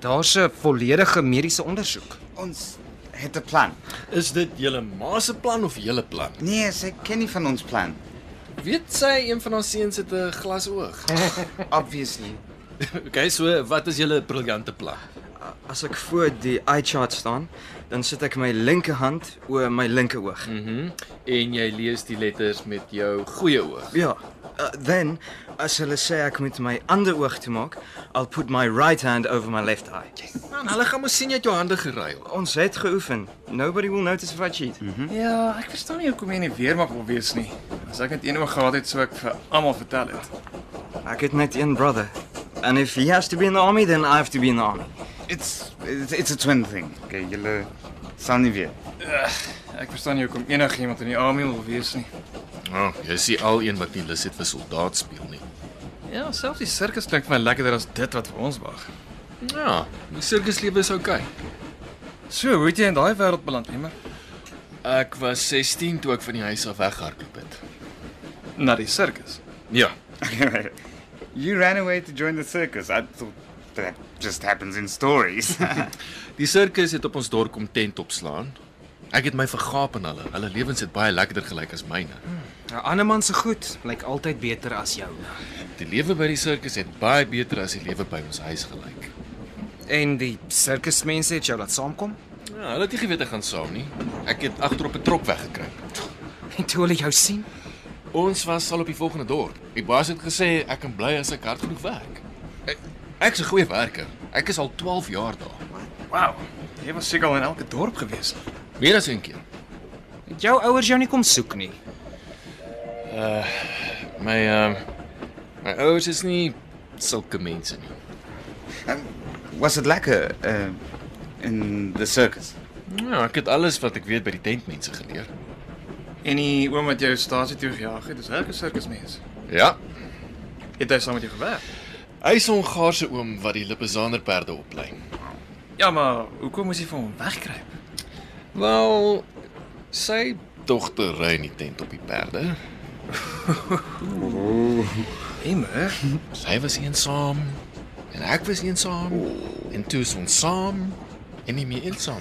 [SPEAKER 7] Daar's 'n volledige mediese ondersoek.
[SPEAKER 9] Ons het 'n plan.
[SPEAKER 8] Is dit julle ma se plan of julle plan?
[SPEAKER 9] Nee, sy ken nie van ons plan.
[SPEAKER 8] Weet sy een van ons seuns het 'n glasoog.
[SPEAKER 9] Obviously.
[SPEAKER 8] Okay, so wat is julle briljante plan?
[SPEAKER 4] As ek voor die eye chart staan, dan sit ek my linkerhand oor my linker oog.
[SPEAKER 8] Mhm. En jy lees die letters met jou goeie oog.
[SPEAKER 4] Ja. Uh, then as hulle sê ek moet my ander oog toemaak, I'll put my right hand over my left eye.
[SPEAKER 8] Man, hulle gaan mos sien jy het jou hande geruil.
[SPEAKER 4] Ons het geoefen. Nobody will notice if I cheat.
[SPEAKER 7] Hmm.
[SPEAKER 3] Ja, ek verstaan nie hoekom jy nie weer mag wil wees nie. As ek net een oog gehad het, sou ek vir almal vertel het.
[SPEAKER 4] Ek het net een brother. And if he has to be in the army, then I have to be in the army.
[SPEAKER 9] It's it's, it's a twin thing. Okay, julle sal nie weet.
[SPEAKER 3] Ek verstaan nie hoekom enigiemand in die army wil wees nie.
[SPEAKER 8] Nou, jy is die al een wat nie lus het vir soldaat speel nie.
[SPEAKER 3] Ja, selfs die sirkus klink vir my lekkerder as dit wat vir ons wag.
[SPEAKER 8] Ja, die sirkuslewe is oukei. Okay.
[SPEAKER 3] So, hoe het jy in daai wêreld beland, Emma?
[SPEAKER 8] Ek was 16 toe ek van die huis af weghardloop het.
[SPEAKER 3] Na die sirkus.
[SPEAKER 8] Ja.
[SPEAKER 9] you ran away to join the circus. I thought that just happens in stories.
[SPEAKER 8] Die sirkus het op ons dorp kom tent opslaan. Ek het my vergaap aan hulle. Hulle lewens het baie lekkerder gelyk as myne.
[SPEAKER 7] 'n Nou, Ander man se goed lyk altyd beter as jou.
[SPEAKER 8] Die lewe by die sirkus het baie beter as die lewe by ons huis gelyk.
[SPEAKER 7] En die sirkusmense het jou laat saamkom?
[SPEAKER 8] Ja, hulle het nie geweet ek gaan saam nie. Ek het agterop 'n trok weggekruip.
[SPEAKER 7] En toe hulle jou sien,
[SPEAKER 8] Ons was al op die volgende dorp. Die baas het gesê ek kan bly as ek hard genoeg werk. Ek, ek's 'n goeie werker. Ek is al 12 jaar daar.
[SPEAKER 3] Wow. Jy was seker al in elke dorp gewees.
[SPEAKER 8] Meer as een keer.
[SPEAKER 7] het jou ouers jou nie kom soek nie.
[SPEAKER 8] My ehm uh, my ouers is nie sulke mense nie.
[SPEAKER 9] Was it like a, um, in the circus?
[SPEAKER 8] Ja, ek het alles wat ek weet by die tentmense geleer.
[SPEAKER 3] En die oom wat jou stasie toe gejaag het, is reg 'n sirkusmens.
[SPEAKER 8] Ja.
[SPEAKER 3] Het hy saam met jou gewerk?
[SPEAKER 8] Hy is 'n Hongaarse oom wat die Lipizzaner perde oplei.
[SPEAKER 3] Ja, maar hoekom moes jy van hom wegkruip?
[SPEAKER 8] Wel, sy dogter ry in die tent op die perde.
[SPEAKER 3] Emma,
[SPEAKER 8] Sy was eensaam en ek was eensaam en toe is ons saam en nie meer eensaam.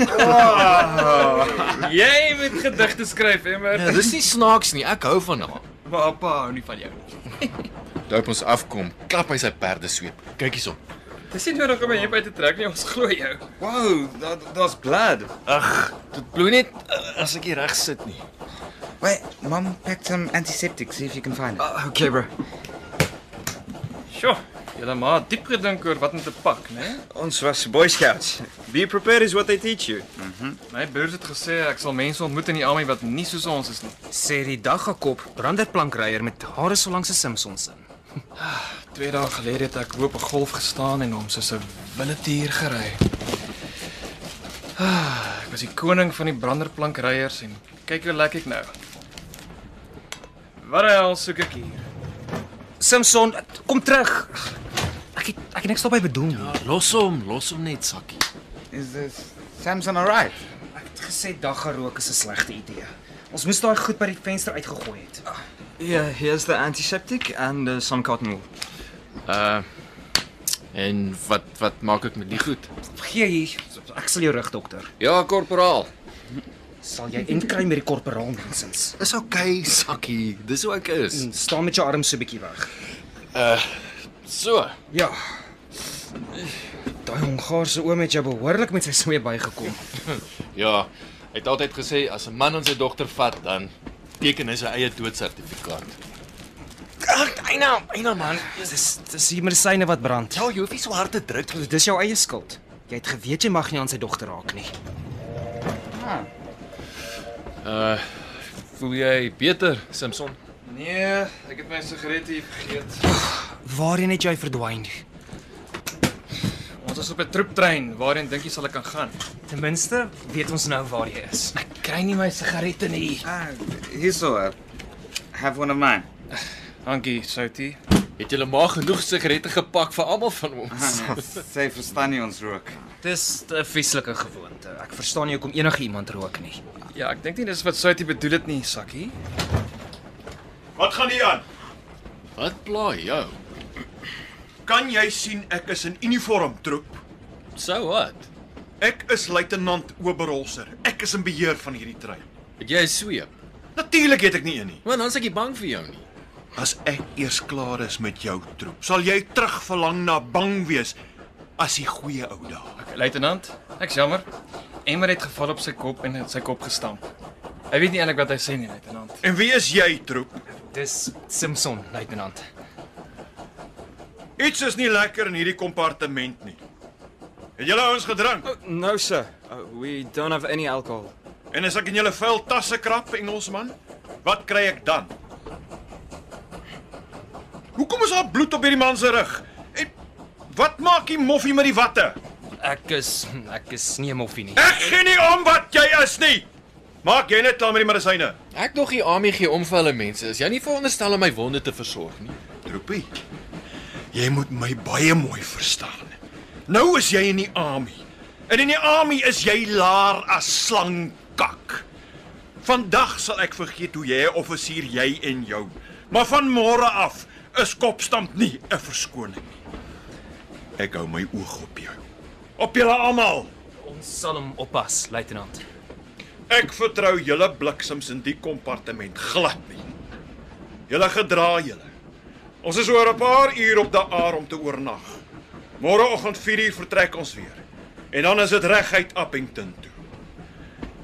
[SPEAKER 3] jy moet gedigte skryf, Emma.
[SPEAKER 8] Ja, dis nie snaaks nie. Ek hou van haar.
[SPEAKER 3] Maar pappa hou nie van jou nie.
[SPEAKER 8] Toe op ons afkom, klap hy sy perde sweep. Kyk hierson.
[SPEAKER 3] Dis nie nodig om my heup uit te trek nie, ons glo jou.
[SPEAKER 9] Wow, that, that's blood.
[SPEAKER 8] Dit bloei net uh,
[SPEAKER 3] eh,
[SPEAKER 8] as ek hier reg sit nie.
[SPEAKER 9] Wait, Mom packed some antiseptic. See if you can find it.
[SPEAKER 4] Uh, okay, bro.
[SPEAKER 3] Ah, Sjoe, jy het maar diep gedink oor wat om te pak, né?
[SPEAKER 4] Ons was Boy Scouts. Be prepared is what they teach you.
[SPEAKER 3] My broers het gesê ek sal mense ontmoet in die army wat nie soos ons is nie.
[SPEAKER 7] Sê die daggakop branderplankryer met hare so lank se Simpson se.
[SPEAKER 3] Twee dae gelede het ek hoop 'n golf gestaan en hom soos 'n willetier gery. Ah, Ek was die koning van die branderplankryers en kyk hoe lekker ek nou. Wat al soek ek hier?
[SPEAKER 7] Simpson, kom terug. Ja, Ek het ek het niks daarby bedoel nie.
[SPEAKER 8] Los hom, los hom net sakkie.
[SPEAKER 9] Is this Samson alright?
[SPEAKER 7] Ek het gesê daggerook is 'n slegte idee. Ons moes daai goed by die venster uitgegooi het.
[SPEAKER 4] Yeah, here's the antiseptic and uh, some cotton wool.
[SPEAKER 8] Uh en wat wat maak ek met die goed?
[SPEAKER 7] Gee hier. Ek sal jou rig dokter.
[SPEAKER 8] Ja, korporaal.
[SPEAKER 7] Sal jy en kry met die korporaal mensens.
[SPEAKER 8] Dis okay, sakkie. Dis hoe ek is.
[SPEAKER 7] Staan met jou arm so bietjie weg.
[SPEAKER 8] Hmm, So,
[SPEAKER 7] Ja. Daai Hongaarse oom het jou behoorlik met sy sweep bygekom.
[SPEAKER 8] ja, hy het altyd gesê as 'n man aan sy dogter vat, dan teken hy sy eie doodsertifikaat.
[SPEAKER 7] Eina, eina man, dis dis hier medisyne wat brand.
[SPEAKER 8] Ja, jy hoef nie so hard te druk nie.
[SPEAKER 7] Dis jou eie skuld. Jy het geweet jy mag nie aan sy dogter raak nie.
[SPEAKER 8] Voel jy beter, Simpson?
[SPEAKER 3] Nee, ek het my sigarette hier vergeet.
[SPEAKER 7] Waarheen het jy verdwyn?
[SPEAKER 3] Ons is op 'n troeptrein. Waarheen dink jy sal ek kan gaan?
[SPEAKER 7] Ten minste weet ons nou waar jy is.
[SPEAKER 3] Ek kry nie my sigarette nie.
[SPEAKER 9] Ah, here's so. Uh, have one of mine.
[SPEAKER 3] Dankie, Soutie.
[SPEAKER 8] Het jy maar genoeg sigarette gepak vir almal van ons?
[SPEAKER 9] Ah, Sê verstaan nie ons rook.
[SPEAKER 7] Dis 'n vieslike gewoonte. Ek verstaan nie hoekom enige iemand rook nie.
[SPEAKER 3] Ja, ek dink nie dis wat Soutie bedoel het nie, Sakkie.
[SPEAKER 10] Wat gaan nie aan?
[SPEAKER 8] Wat plaai jou?
[SPEAKER 10] Kan jy sien ek is in uniform troep?
[SPEAKER 8] So wat?
[SPEAKER 10] Ek is luitenant Oberholzer. Ek is in beheer van hierdie trein.
[SPEAKER 8] Het jy 'n sweep?
[SPEAKER 10] Natuurlik het ek nie een nie.
[SPEAKER 8] Want dan is ek nie bang vir jou nie.
[SPEAKER 10] As ek eers klaar is met jou troep, sal jy terug verlang na bang wees as die goeie ou dae.
[SPEAKER 3] Luitenant, ek's jammer. Emmer het geval op sy kop en het sy kop gestamp. Hy weet nie eintlik wat hy sê nie, luitenant.
[SPEAKER 10] En wie is jy troep?
[SPEAKER 7] Dis Simpson, luitenant.
[SPEAKER 10] Iets is nie lekker in hierdie kompartement nie. Het julle ouens gedrink?
[SPEAKER 4] No, Oh, sir. Uh, we don't have any alcohol.
[SPEAKER 10] En as ek in julle vuil tasse krap, Engelsman, wat kry ek dan? Hoekom is daar bloed op hierdie man se rug? En wat maak die moffie met die watte?
[SPEAKER 7] Ek is ek is nie 'n moffie nie.
[SPEAKER 10] Ek gee nie om wat jy is nie.
[SPEAKER 4] Maak jy net klaar met die medisyne.
[SPEAKER 8] Ek nog die AMI gee om vir hulle mense. Is jy nie veronderstel om my wonde te versorg nie?
[SPEAKER 4] Troepie. Jy moet my baie mooi verstaan. Nou is jy in die AMI. En in die AMI is jy laar as slangkak. Vandag sal ek vergeet hoe jy 'n offisier jy en jou. Maar van môre af is kopstand nie 'n verskoning nie. Ek hou my oog op jou. Op julle almal.
[SPEAKER 7] Ons sal hom oppas, luitenant.
[SPEAKER 4] Ek vertrou julle bliksems in die kompartement glad nie. Julle gedra julle. Ons is oor 'n paar uur op daar om te oornag. Môreoggend 4uur vertrek ons weer. En dan is dit reguit Appington toe.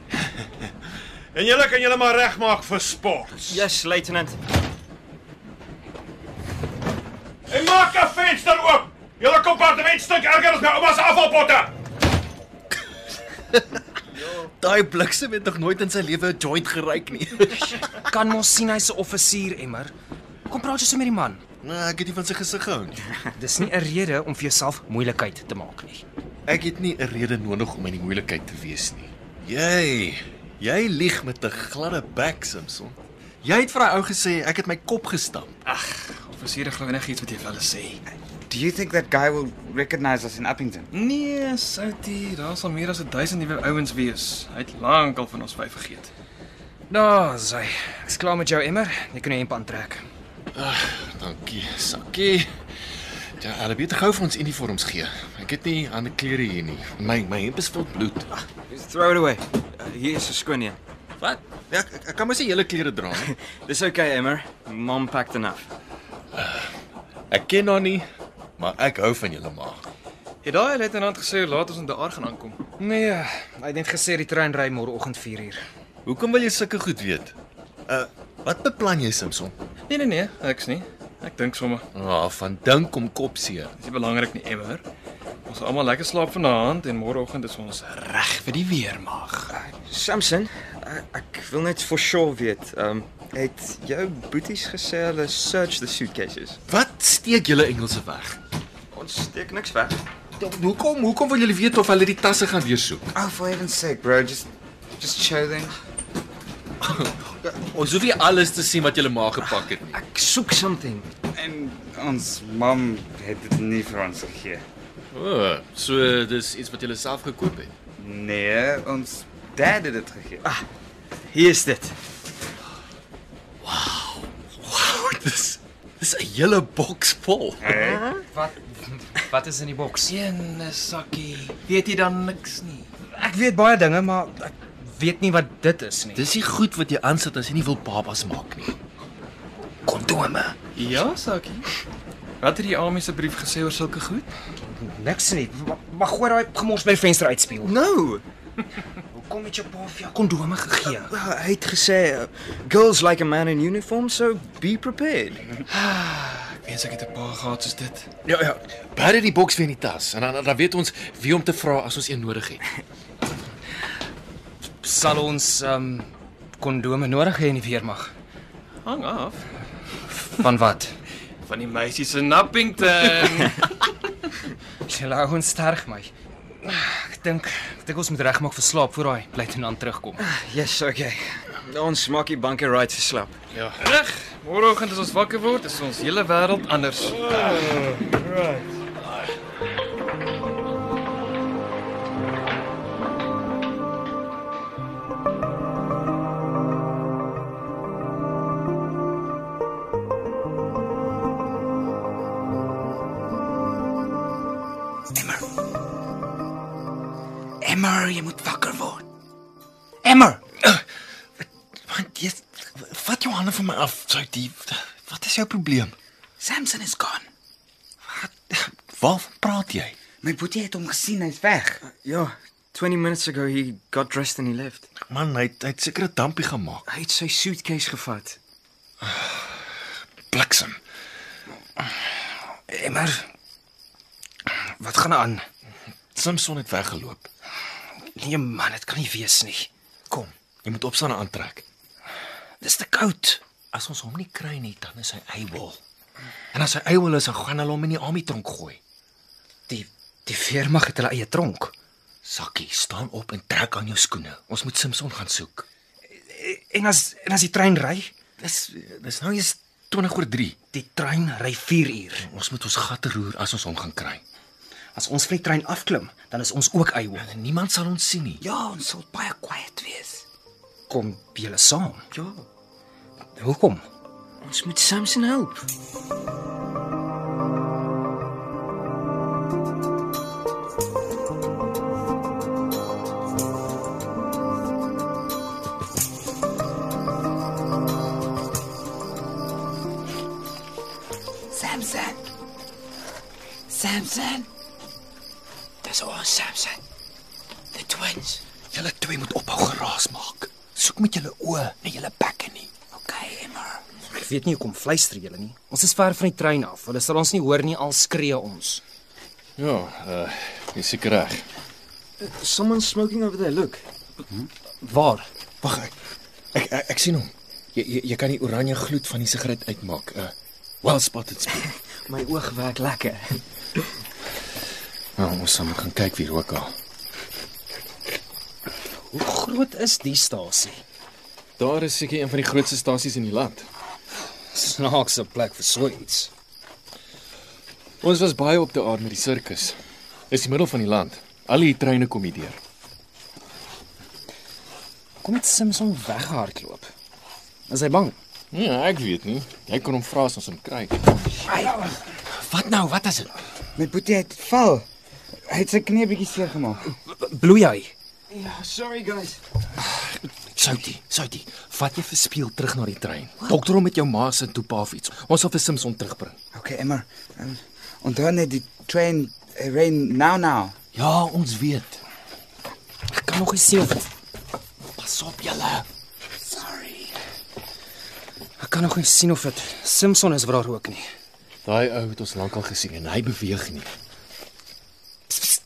[SPEAKER 4] en julle kan julle maar regmaak vir sports.
[SPEAKER 11] Yes, luitenant.
[SPEAKER 4] En maak 'n venster oop. Julle kompartement stink erger as my ouma se afvalpotte.
[SPEAKER 8] Daai bliksem het nog nooit in sy lewe 'n joint geryk nie.
[SPEAKER 7] Kan mos sien hy's 'n offisier, Emmer. Kom praat jy so met die man.
[SPEAKER 8] Nee, ek het nie van sy gesig gehou nie.
[SPEAKER 7] Dis nie 'n rede om vir jouself moeilikheid te maak nie.
[SPEAKER 8] Ek het nie 'n rede nodig om in die moeilikheid te wees nie. Jy, jy lieg met 'n gladde bek, Simpson. Jy het vir daai ou gesê ek het my kop gestamp. Ag,
[SPEAKER 3] Versiere glo enigiets wat jy vir hulle sê.
[SPEAKER 9] Do you think that guy will recognize us in Uppington?
[SPEAKER 3] Nee, Soutie, daar sal meer as 1000 nuwe ouens wees. Hy het lankal van ons vyf vergeet.
[SPEAKER 7] Nou, sy. Ek's klaar met jou, Emmer. Jy kan jou hemp aantrek.
[SPEAKER 8] dankie, Sakkie. Ja, hulle weet gou vir ons uniforms gee. Ek het nie ander klere hier nie. My my hemp is vol bloed.
[SPEAKER 11] Just throw it away. Uh, hier is 'n skoon een.
[SPEAKER 8] Wat? Ja, ek, ek kan mos nie hele klere dra nie.
[SPEAKER 11] Dis okay, Emmer. Mom packed enough.
[SPEAKER 8] Ek ken haar nie, maar ek hou van julle ma.
[SPEAKER 3] Het daai luitenant gesê hoe laat ons in daar gaan aankom?
[SPEAKER 7] Nee, hy het net gesê die trein ry môreoggend 4uur.
[SPEAKER 8] Hoekom wil jy sulke goed weet? Uh, wat beplan jy, Simpson?
[SPEAKER 3] Nee nee nee, ek's nie. Ek dink sommer.
[SPEAKER 8] Ah, van dink om kopseer.
[SPEAKER 3] Dis nie belangrik nie, Emmer. Ons sal almal lekker slaap vanaand en môreoggend is ons reg vir die weermag.
[SPEAKER 11] Samson, uh, ek wil net for sure weet. Um het jou boeties gesê hulle search the suitcases?
[SPEAKER 8] Wat steek julle Engelse weg?
[SPEAKER 11] Ons steek niks weg.
[SPEAKER 8] Hoekom hoekom wil julle weet of hulle die tasse gaan weersoek?
[SPEAKER 9] Oh, for heaven's sake, bro, just just show them.
[SPEAKER 8] Ons hoef nie alles te sien wat julle ma gepak het nie.
[SPEAKER 11] Ek soek something.
[SPEAKER 9] En ons mam het dit nie vir ons gegee.
[SPEAKER 8] O, oh, so dis iets wat julle self gekoop het.
[SPEAKER 9] Nee, ons dad het dit gegee. Ah,
[SPEAKER 11] hier is dit.
[SPEAKER 8] Wow, dis dis 'n hele boks vol.
[SPEAKER 7] Wat wat is in die boks?
[SPEAKER 3] Een sakkie. Weet jy dan niks nie?
[SPEAKER 7] Ek weet baie dinge, maar ek weet nie wat dit is nie.
[SPEAKER 8] Dis nie goed wat jy aansit as jy nie wil babas maak nie. Kondome.
[SPEAKER 3] Ja, sakkie. Wat het die Ami se brief gesê oor sulke goed?
[SPEAKER 7] Niks nie. Ma- Maar gooi daai gemors by die venster uitspeel.
[SPEAKER 11] Nou.
[SPEAKER 7] Hoekom het jou pa vir jou kondome gegee?
[SPEAKER 11] Well, hy het gesê uh, girls like a man in uniform, so be prepared.
[SPEAKER 3] Ek weet ek het 'n paar gehad soos dit.
[SPEAKER 8] Ja ja, bære die boks weer in die tas en dan dan weet ons wie om te vra as ons een nodig het.
[SPEAKER 7] Sal ons ehm um, kondome nodig hê in die weermag?
[SPEAKER 3] Hang af
[SPEAKER 7] Van wat?
[SPEAKER 3] van die meisies in Nappington.
[SPEAKER 7] Julle hou ons sterk my. Ek dink ek dink ons moet regmaak vir slaap voor daai luitenant terugkom.
[SPEAKER 11] Yes, okay. Ons maak die banke right vir slap.
[SPEAKER 8] Ja.
[SPEAKER 3] Reg, môreoggend as ons wakker word, is ons hele wêreld anders.
[SPEAKER 12] Emmer, jy moet wakker word. Emmer,
[SPEAKER 8] Eh, Want jy vat jou hande van my af, sou die Wat is jou probleem?
[SPEAKER 12] Samson is gone.
[SPEAKER 8] Waarvan praat jy?
[SPEAKER 12] My boetie het hom gesien, hy's weg.
[SPEAKER 11] Ja, 20 minutes ago he got dressed and he left.
[SPEAKER 8] Man, hy het- hy het seker 'n dampie gemaak.
[SPEAKER 11] Hy het sy suitcase gevat.
[SPEAKER 8] Bliksem.
[SPEAKER 7] Emmer. Eh, Wat gaan aan?
[SPEAKER 8] Samson het weggeloop.
[SPEAKER 7] Nee man, dit kan nie wees nie.
[SPEAKER 8] Kom, jy moet opstaan en aantrek.
[SPEAKER 7] Dis te koud.
[SPEAKER 8] As ons hom nie kry nie, dan is hy eiwel. En as hy eiwel is, dan gaan hulle hom in die amitronk gooi.
[SPEAKER 7] Die die weermag het hulle eie tronk.
[SPEAKER 8] Sakkie, staan op en trek aan jou skoene. Ons moet Samson gaan soek.
[SPEAKER 7] En as en as die trein ry?
[SPEAKER 8] Dis dis nou eers 20 oor 3.
[SPEAKER 7] Die trein ry 4 uur.
[SPEAKER 8] Ons moet ons gatte roer as ons hom gaan kry.
[SPEAKER 7] As ons van die trein afklim, dan is ons ook eie.
[SPEAKER 8] Niemand sal ons sien nie.
[SPEAKER 7] Ja, ons sal baie quiet wees. Kom julle saam? Ja. Hoekom?
[SPEAKER 13] Ons moet Samson help. Samson. Samson. Dis ons Samson. The twins.
[SPEAKER 8] Julle twee moet ophou geraas maak. Soek met julle oë, nie julle bekke nie.
[SPEAKER 13] Okay, Emma.
[SPEAKER 7] Ek weet nie hoekom fluister julle nie. Ons is ver van die trein af. Hulle sal ons nie hoor nie al skree ons.
[SPEAKER 8] Ja, uh, jy is seker reg.
[SPEAKER 14] Someone's smoking over there. Look.
[SPEAKER 8] Waar? Wag. Ek, ek ek ek sien hom. Jy jy, jy kan die oranje gloed van die sigaret uitmaak. Uh, well spotted spot.
[SPEAKER 13] My oog werk lekker.
[SPEAKER 8] Nou, ons sal maar gaan kyk wie rook al.
[SPEAKER 7] Hoe groot is die stasie?
[SPEAKER 8] Daar is seker een van die grootste stasies in die land.
[SPEAKER 7] Snaakse plek vir so iets.
[SPEAKER 8] Ons was baie op die aard met die sirkus. Dis die middel van die land. Al die treine kom hier deur.
[SPEAKER 7] Kom dit Simpson weghardloop. Is hy bang?
[SPEAKER 8] Nee, ek weet nie. Jy kan hom vra as ons hom kry.
[SPEAKER 13] Wat nou? Wat is dit?
[SPEAKER 15] My boetie het val. Hy het sy knie 'n bietjie seer gemaak.
[SPEAKER 7] Bloei hy?
[SPEAKER 14] Yeah, sorry guys.
[SPEAKER 8] Soutie, Soutie, vat jy vir speel terug na die trein. Dokter hom met jou ma se toepa of iets. Ons sal vir Simpson terugbring.
[SPEAKER 15] Okay, Emma. Um, onthou net die train eh, rain now now.
[SPEAKER 8] Ja, ons weet.
[SPEAKER 7] Ek kan nog nie sien of
[SPEAKER 8] Pas op julle.
[SPEAKER 7] ek kan nog nie sien of dit Simpson is wat daar rook nie.
[SPEAKER 8] Daai ou het ons lankal gesien en hy beweeg nie.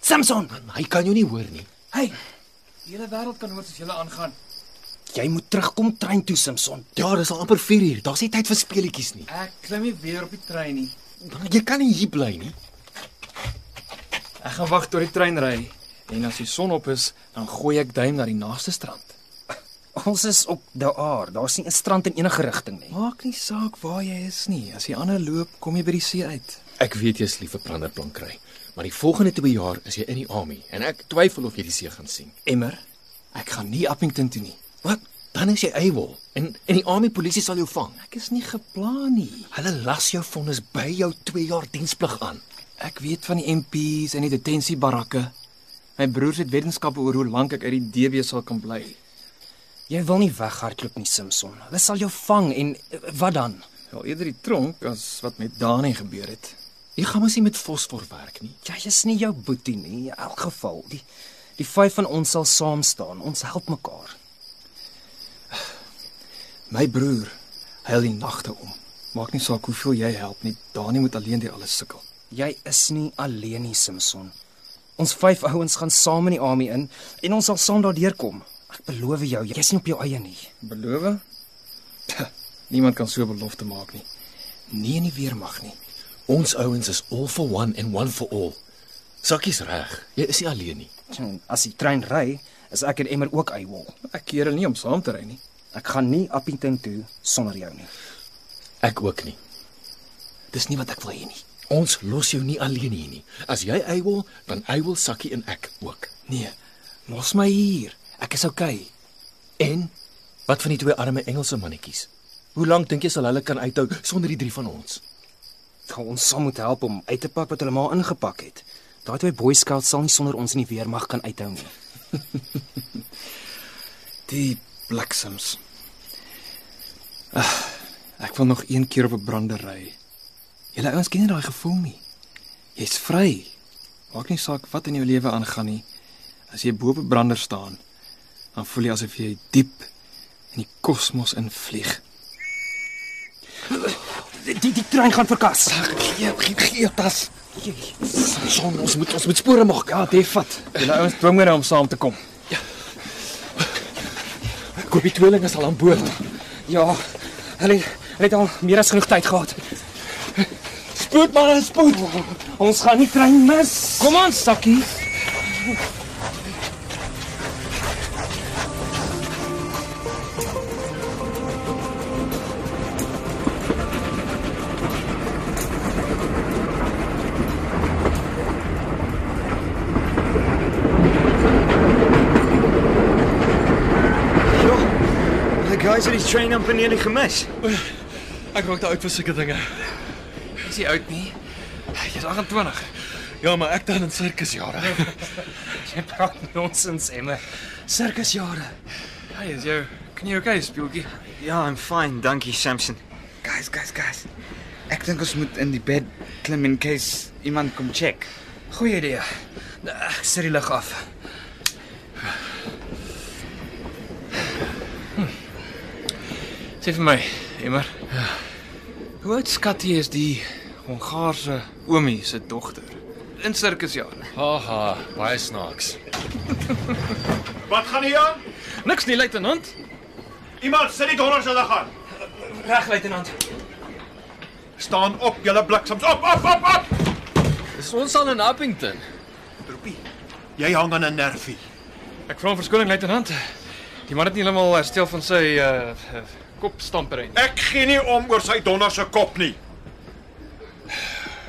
[SPEAKER 7] Samson,
[SPEAKER 8] hy kan jou nie hoor nie.
[SPEAKER 7] Hey,
[SPEAKER 3] Die hele wêreld kan hoor as jy aangaan.
[SPEAKER 7] jy moet terugkom trein toe Simpson.
[SPEAKER 8] Ja, dis al amper 4 uur. Daar's nie tyd vir speletjies nie.
[SPEAKER 3] Ek klim nie weer op die trein nie.
[SPEAKER 8] Jy kan nie hier bly nie.
[SPEAKER 3] Ek gaan wag tot die trein ry en as die son op is, dan gooi ek duim na die naaste strand.
[SPEAKER 7] Ons is op daar. Daar's nie 'n strand in enige rigting nie.
[SPEAKER 3] Maak nie saak waar jy is nie. As die ander loop, kom jy by die see uit.
[SPEAKER 8] Ek weet jy's lief vir planderplan kry, maar die volgende 2 jaar is jy in die army en ek twyfel of jy die see gaan sien.
[SPEAKER 3] Emmer, ek gaan nie Appington toe nie.
[SPEAKER 8] Wat? Dan is jy able en en die army polisie sal jou vang.
[SPEAKER 3] Ek is nie geplan nie.
[SPEAKER 8] Hulle las jou vonnis by jou 2 jaar diensplig aan.
[SPEAKER 3] Ek weet van die MP's en die detensiebarakke. My broers het wetenskappe oor hoe lank ek uit die DB sal kan bly.
[SPEAKER 7] Jy wil nie weghardloop nie Simpson. Hulle sal jou vang en eh, wat dan?
[SPEAKER 3] Wel eerder die tronk as wat met Dani gebeur het.
[SPEAKER 8] Jy gaan mos nie met fosfor werk nie.
[SPEAKER 7] Jy is Ja, nie jou boetie nie in elk geval. Die die vyf van ons sal saam staan. Ons help mekaar.
[SPEAKER 3] My broer huil die nagte om. Maak nie saak hoeveel jy help nie, Dani moet alleen deur alles sukkel.
[SPEAKER 7] Jy is nie alleen nie Simpson. Ons vyf ouens gaan saam in die army in en ons sal saam daardeur kom. Ek beloof jou, jy's nie op jou eie nie.
[SPEAKER 3] Beloof? Niemand kan so 'n belofte maak nie. Nee, Nie in die weermag nie.
[SPEAKER 8] Ons ouens is all for one and one for all. Sakkies reg. Jy is nie alleen nie.
[SPEAKER 7] Tjoe, As die trein ry, is ek en Emmer ook eiwol.
[SPEAKER 3] Ek keer hulle nie om saam te ry nie.
[SPEAKER 7] Ek gaan nie Appington toe sonder jou nie.
[SPEAKER 8] Ek ook nie.
[SPEAKER 7] Dis nie wat ek wil hê nie.
[SPEAKER 8] Ons los jou nie alleen hier nie. As jy eiwel, dan eiwel Sakkie en ek ook.
[SPEAKER 3] Nee, los my hier. Ek is oukei. Okay.
[SPEAKER 8] En wat van die twee arme Engelse mannetjies? Hoe lank dink jy sal hulle kan uithou sonder die drie van ons?
[SPEAKER 7] Gaan ons sal moet help om uit te pak wat hulle maar ingepak het. Daai twee boy scouts sal nie sonder ons in die weermag kan uithou nie.
[SPEAKER 3] Die bliksems. Ag, ek wil nog een keer op 'n brandery. Julle ouens ken nie daai gevoel nie. Jy's vry. Maak nie saak wat in jou lewe aangaan nie. As jy bo op 'n brander staan, dan voel jy asof jy diep in die kosmos invlieg.
[SPEAKER 7] Die die, die trein gaan verkas.
[SPEAKER 8] Gee gee gee tas. Son, ons moet ons moet spore maak.
[SPEAKER 3] Ja, dit vat. Julle ouens dwing my nou om saam te kom.
[SPEAKER 7] Ja.
[SPEAKER 8] Koop die tweeling is al aan boord.
[SPEAKER 7] Ja, hulle hulle het al meer as genoeg tyd gehad.
[SPEAKER 8] Spoed maar, spoed.
[SPEAKER 7] Ons gaan nie trein mis. Kom aan, Sakkie.
[SPEAKER 16] Guys het die train amper nearly gemis.
[SPEAKER 8] Ek raak te oud vir sulke dinge.
[SPEAKER 3] Is jy oud nie? Jy's 28.
[SPEAKER 8] Ja, maar ek dan in sirkusjare.
[SPEAKER 3] Jy praat nonsens, Emma. Sirkusjare. Hey, is jou knie oukei, okay, speeltjie?
[SPEAKER 9] Ja, I'm fine. Dankie, Samson. Guys, guys, guys. Ek dink ons moet in die bed klim in case iemand kom check. Eh,
[SPEAKER 7] Goeie idee. Ek sit die lig af.
[SPEAKER 3] Hm. Sê vir my, Emma.
[SPEAKER 8] Ja.
[SPEAKER 3] Hoe oud skat jy is die Hongaarse oomie se dogter? In ja. sirkusjare.
[SPEAKER 8] Haha, baie snaaks.
[SPEAKER 10] Wat gaan hier aan?
[SPEAKER 3] Niks nie, luitenant.
[SPEAKER 10] Iemand sit die donder se lig aan.
[SPEAKER 3] Reg, luitenant.
[SPEAKER 10] Staan op, julle bliksems. Op, op, op, op.
[SPEAKER 8] Is ons al in Appington?
[SPEAKER 10] Troepie. Jy hang aan 'n nervie.
[SPEAKER 3] Ek vra om verskoning, luitenant. Die man het nie heeltemal herstel van sy uh uh, kopstampery nie.
[SPEAKER 10] Ek gee nie om oor sy donder se kop nie.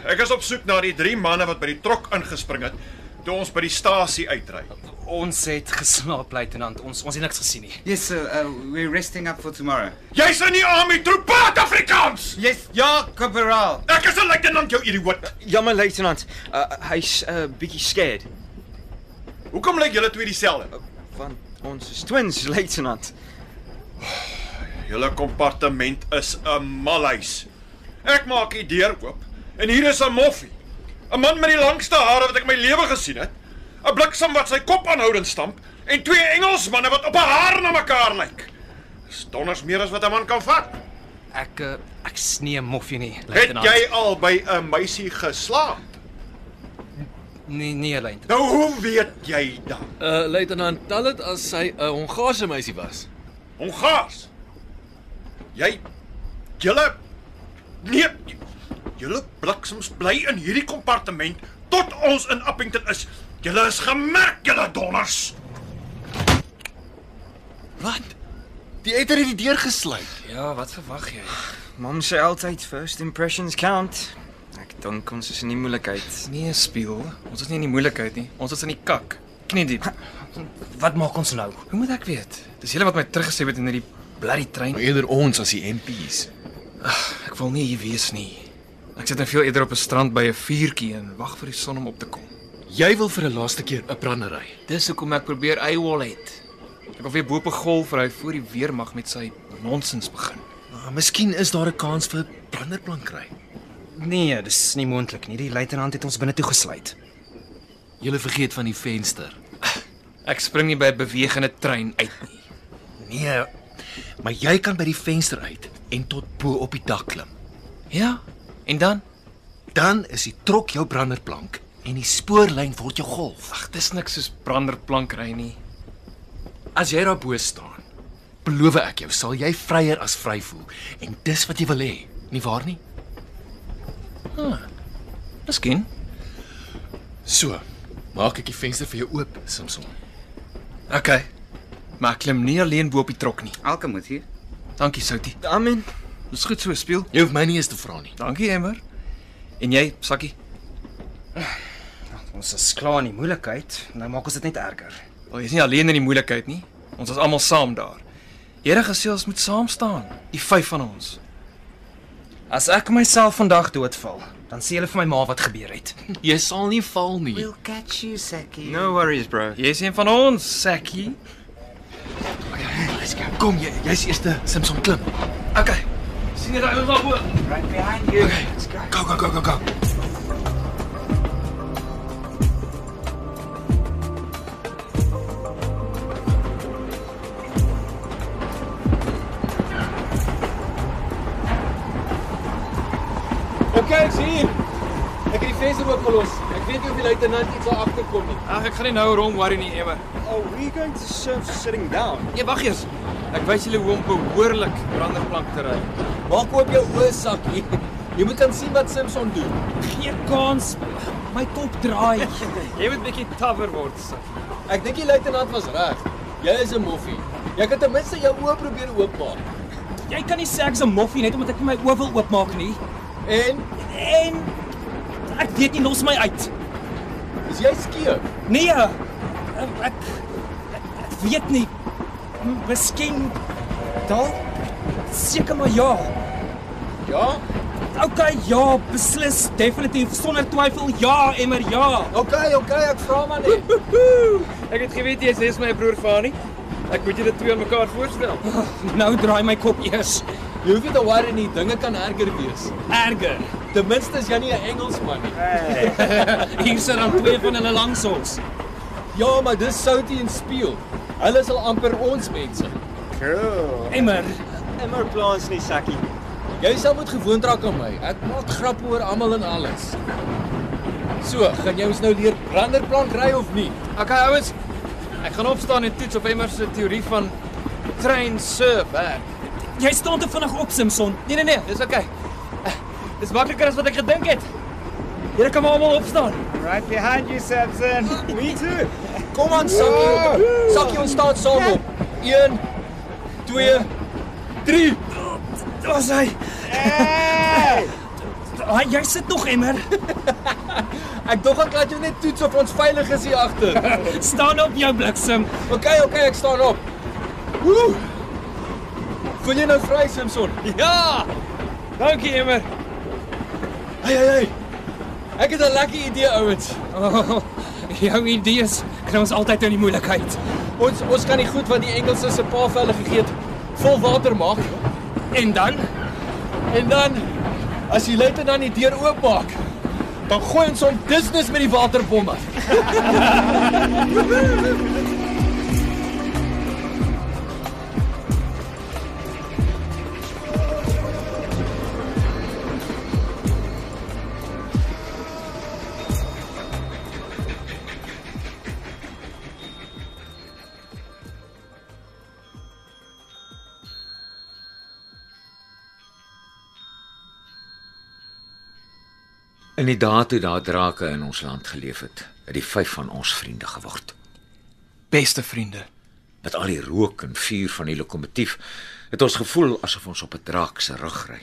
[SPEAKER 10] Ek is op soek na die drie manne wat by die trok ingespring het toe ons by die stasie uitry.
[SPEAKER 7] Ons het geslaap, luitenant. Ons ons het niks gesien nie.
[SPEAKER 9] Yes, sir. Uh, we're resting up for tomorrow.
[SPEAKER 10] Jy's in die army troep praat Afrikaans.
[SPEAKER 9] Yes, ja, corporaal.
[SPEAKER 10] Ek is 'n luitenant, jou idioot.
[SPEAKER 4] Jammer luitenant, uh, hy's 'n uh, bietjie scared.
[SPEAKER 10] Hoekom lyk julle twee dieselfde?
[SPEAKER 4] Want ons is twins, luitenant.
[SPEAKER 10] Julle kompartement is 'n malhuis. Ek maak die deur oop en hier is 'n moffie. 'n Man met die langste hare wat ek in my lewe gesien het. 'n Bliksem wat sy kop aanhoudend stamp en twee Engelsmanne wat op 'n haar na mekaar lyk. Dis donders meer as wat 'n man kan vat.
[SPEAKER 7] Ek uh, ek snee moffie nie,
[SPEAKER 10] Het
[SPEAKER 7] luitenant.
[SPEAKER 10] jy al by 'n meisie geslaap?
[SPEAKER 7] Nee, nee, luitenant.
[SPEAKER 10] Nou hoe weet jy dan?
[SPEAKER 8] Uh luitenant, tel dit as sy 'n uh, Hongaarse meisie was.
[SPEAKER 10] Hongaars. Jy julle nee, julle bliksems bly in hierdie kompartement tot ons in Appington is. Julle is gemerk, julle donders.
[SPEAKER 8] Wat? Die eter het die deur gesluit.
[SPEAKER 7] Ja, wat verwag jy?
[SPEAKER 4] Mam sê altyd first impressions count. Ek dink ons is in die moeilikheid.
[SPEAKER 3] Nee, speel. Ons is nie in die moeilikheid nie. Ons is in die kak. Knie diep.
[SPEAKER 7] Wat maak ons nou?
[SPEAKER 3] Hoe moet ek weet? Dis julle wat my teruggesê het in hierdie bloody trein.
[SPEAKER 8] Maar eerder ons as die MPs.
[SPEAKER 3] Ek wil nie hier wees nie. Ek sit nou veel eerder op 'n strand by 'n vuurtjie en wag vir die son om op te kom.
[SPEAKER 8] Jy wil vir 'n laaste keer 'n brandery.
[SPEAKER 3] Dis hoekom ek probeer eywol het. Ek wil weer bo op 'n golf ry voor die weermag met sy nonsens begin.
[SPEAKER 8] Maar Ah, miskien is daar 'n kans vir branderplan kry.
[SPEAKER 7] Nee, dis nie moontlik nie. Die luitenant het ons binne toe gesluit.
[SPEAKER 8] Jy vergeet van die venster.
[SPEAKER 3] Ek spring nie by 'n bewegende trein uit nie.
[SPEAKER 8] Nee. Maar jy kan by die venster uit en tot bo op die dak klim.
[SPEAKER 3] Ja. En dan?
[SPEAKER 8] Dan is die trok jou branderplank en die spoorlyn word jou golf.
[SPEAKER 3] Ag, dis niks soos branderplank ry nie.
[SPEAKER 8] As jy daar bo staan, beloof ek jou, sal jy vryer as vry voel en dis wat jy wil hê, nie waar nie?
[SPEAKER 3] Ah. Miskien.
[SPEAKER 8] So, maak ek die venster vir jou oop, Samson.
[SPEAKER 3] Okay. Maar ek klim nie alleen bo op die trok nie.
[SPEAKER 9] Alkom moet hier.
[SPEAKER 3] Dankie, Soutie.
[SPEAKER 4] Amen.
[SPEAKER 3] Dis goed so, speel.
[SPEAKER 8] Jy hoef my nie eens te vra nie.
[SPEAKER 3] Dankie, Emmer. En jy, Sakkie?
[SPEAKER 7] Ons is klaar in die moeilikheid. Nou maak ons dit net erger.
[SPEAKER 3] Wel, jy's nie alleen in die moeilikheid nie. Ons is almal saam daar. Here gesê ons moet saam staan, die vyf van ons.
[SPEAKER 7] As ek myself vandag doodval, dan sê hulle vir my ma wat gebeur het.
[SPEAKER 8] Jy sal nie val nie.
[SPEAKER 17] catch you, Seki.
[SPEAKER 4] No worries, bro.
[SPEAKER 3] Jy's een van ons, Sakkie.
[SPEAKER 8] Let's go. Ja, Kom jy, jy's eerste, Samson klim.
[SPEAKER 3] Okay. sien jy daai ou daar bo?
[SPEAKER 17] Right behind you. Let's go.
[SPEAKER 8] Go go go go go.
[SPEAKER 18] Okay, ek's hier. Ek het die venster oop gelos. Ek weet nie of die luitenant iets daar agter kom nie.
[SPEAKER 3] Ag, ek gaan nie nou rond worry nie, Emmer.
[SPEAKER 18] Oh,
[SPEAKER 16] Are we going to surf sitting down?
[SPEAKER 3] Nee, wag eers. Ek wys julle hoe om behoorlik branderplank te ry.
[SPEAKER 18] Maak oop jou oë sakkie. Jy moet kan sien wat Simpson doen.
[SPEAKER 17] Gee kans. My kop draai.
[SPEAKER 3] Jy moet bietjie tawer word, Sakkie.
[SPEAKER 18] Ek dink die luitenant was reg. Jy is 'n moffie. Jy kan ten minste jou oë probeer oopmaak.
[SPEAKER 17] Jy kan nie sê ek's 'n moffie net omdat ek my oë wil oopmaak nie.
[SPEAKER 18] En
[SPEAKER 17] En ek weet nie los my uit.
[SPEAKER 18] is jy skeef?
[SPEAKER 17] Nee. eh, Ek, ek, ek weet nie. M- Miskien
[SPEAKER 19] Dalk seker maar ja. Ja. Okay, ja, beslis definitief sonder twyfel ja, emmer ja. Okay, okay, ek vra maar net.
[SPEAKER 20] Ek het geweet jy's is my broer Fani. Ek moet julle twee aan mekaar voorstel.
[SPEAKER 19] Nou draai my kop eers.
[SPEAKER 7] Jy hoef nie te worry nie, dinge kan erger wees.
[SPEAKER 19] Erger.
[SPEAKER 7] Ten minste is jy nie 'n Engelsman nie.
[SPEAKER 19] Hier sit dan twee van hulle langs ons.
[SPEAKER 7] Ja, maar dis Soutie en Speel. Hulle is al amper ons mense.
[SPEAKER 21] Cool.
[SPEAKER 19] Emmer,
[SPEAKER 21] Emmer plaas nie sakkie.
[SPEAKER 7] Jy sal moet gewoond raak aan my. Ek maak grappe oor almal en alles. So, gaan jy ons nou leer branderplank ry of nie?
[SPEAKER 20] Okay, ouens. Ek gaan opstaan en toets of Emmer se teorie van train surf werk.
[SPEAKER 19] Jy staan te vinnig op, Simpson.
[SPEAKER 20] Nee nee nee, dis okay. Eh, Dis makliker as wat ek gedink het. Julle kan maar almal opstaan.
[SPEAKER 21] Right behind you, Samson. Me too.
[SPEAKER 7] Kom aan, Sakkie. Sakkie, ons staan saam op. 1 2 3
[SPEAKER 19] Daar's hy.
[SPEAKER 21] Hey!
[SPEAKER 19] Ah, jy sit nog emmer.
[SPEAKER 7] Ek dog ek laat jou net toets of ons veilig is hier agter.
[SPEAKER 19] staan op jou bliksem.
[SPEAKER 7] OK, OK, ek staan op. Woe! Voel jy nou vry, Simpson?
[SPEAKER 20] Ja! Dankie Emmer.
[SPEAKER 7] Hey, hey, hey. Ek het 'n lekker idee, ouens.
[SPEAKER 19] Oh, jou idees kry ons altyd in die moeilikheid.
[SPEAKER 7] Ons ons kan die goed wat die Engelse se pa vir hulle gegee het, vol water maak.
[SPEAKER 19] En dan
[SPEAKER 7] en dan as die luitenant die deur oopmaak, dan gooi ons hom business met die waterbomme.
[SPEAKER 5] In die dae toe daar drake in ons land geleef het, het die vyf van ons vriende geword.
[SPEAKER 3] Beste vriende.
[SPEAKER 5] Met al die rook en vuur van die lokomotief het ons gevoel asof ons op 'n draak se rug ry.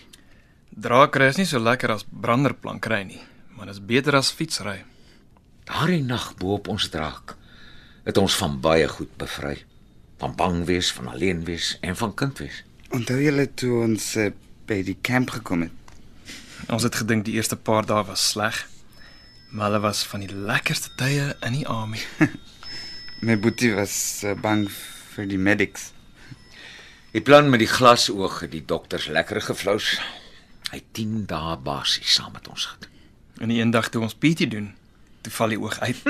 [SPEAKER 3] Draakry is nie so lekker as branderplankry nie, maar dis beter as fietsry.
[SPEAKER 5] Daardie nag bo op ons draak het ons van baie goed bevry. Van bang wees, van alleen wees en van kind wees.
[SPEAKER 9] Onthou julle toe ons uh, by die kamp gekom het?
[SPEAKER 3] Ons het gedink die eerste paar dae was sleg, maar hulle was van die lekkerste tye in die army.
[SPEAKER 9] My boetie was uh, bang vir die medics.
[SPEAKER 5] Die plan met die glasoog het die dokters lekker geflous. Hy 10 dae basies saam met ons gedoen.
[SPEAKER 3] En die eendag toe ons PT doen, toe val die oog uit.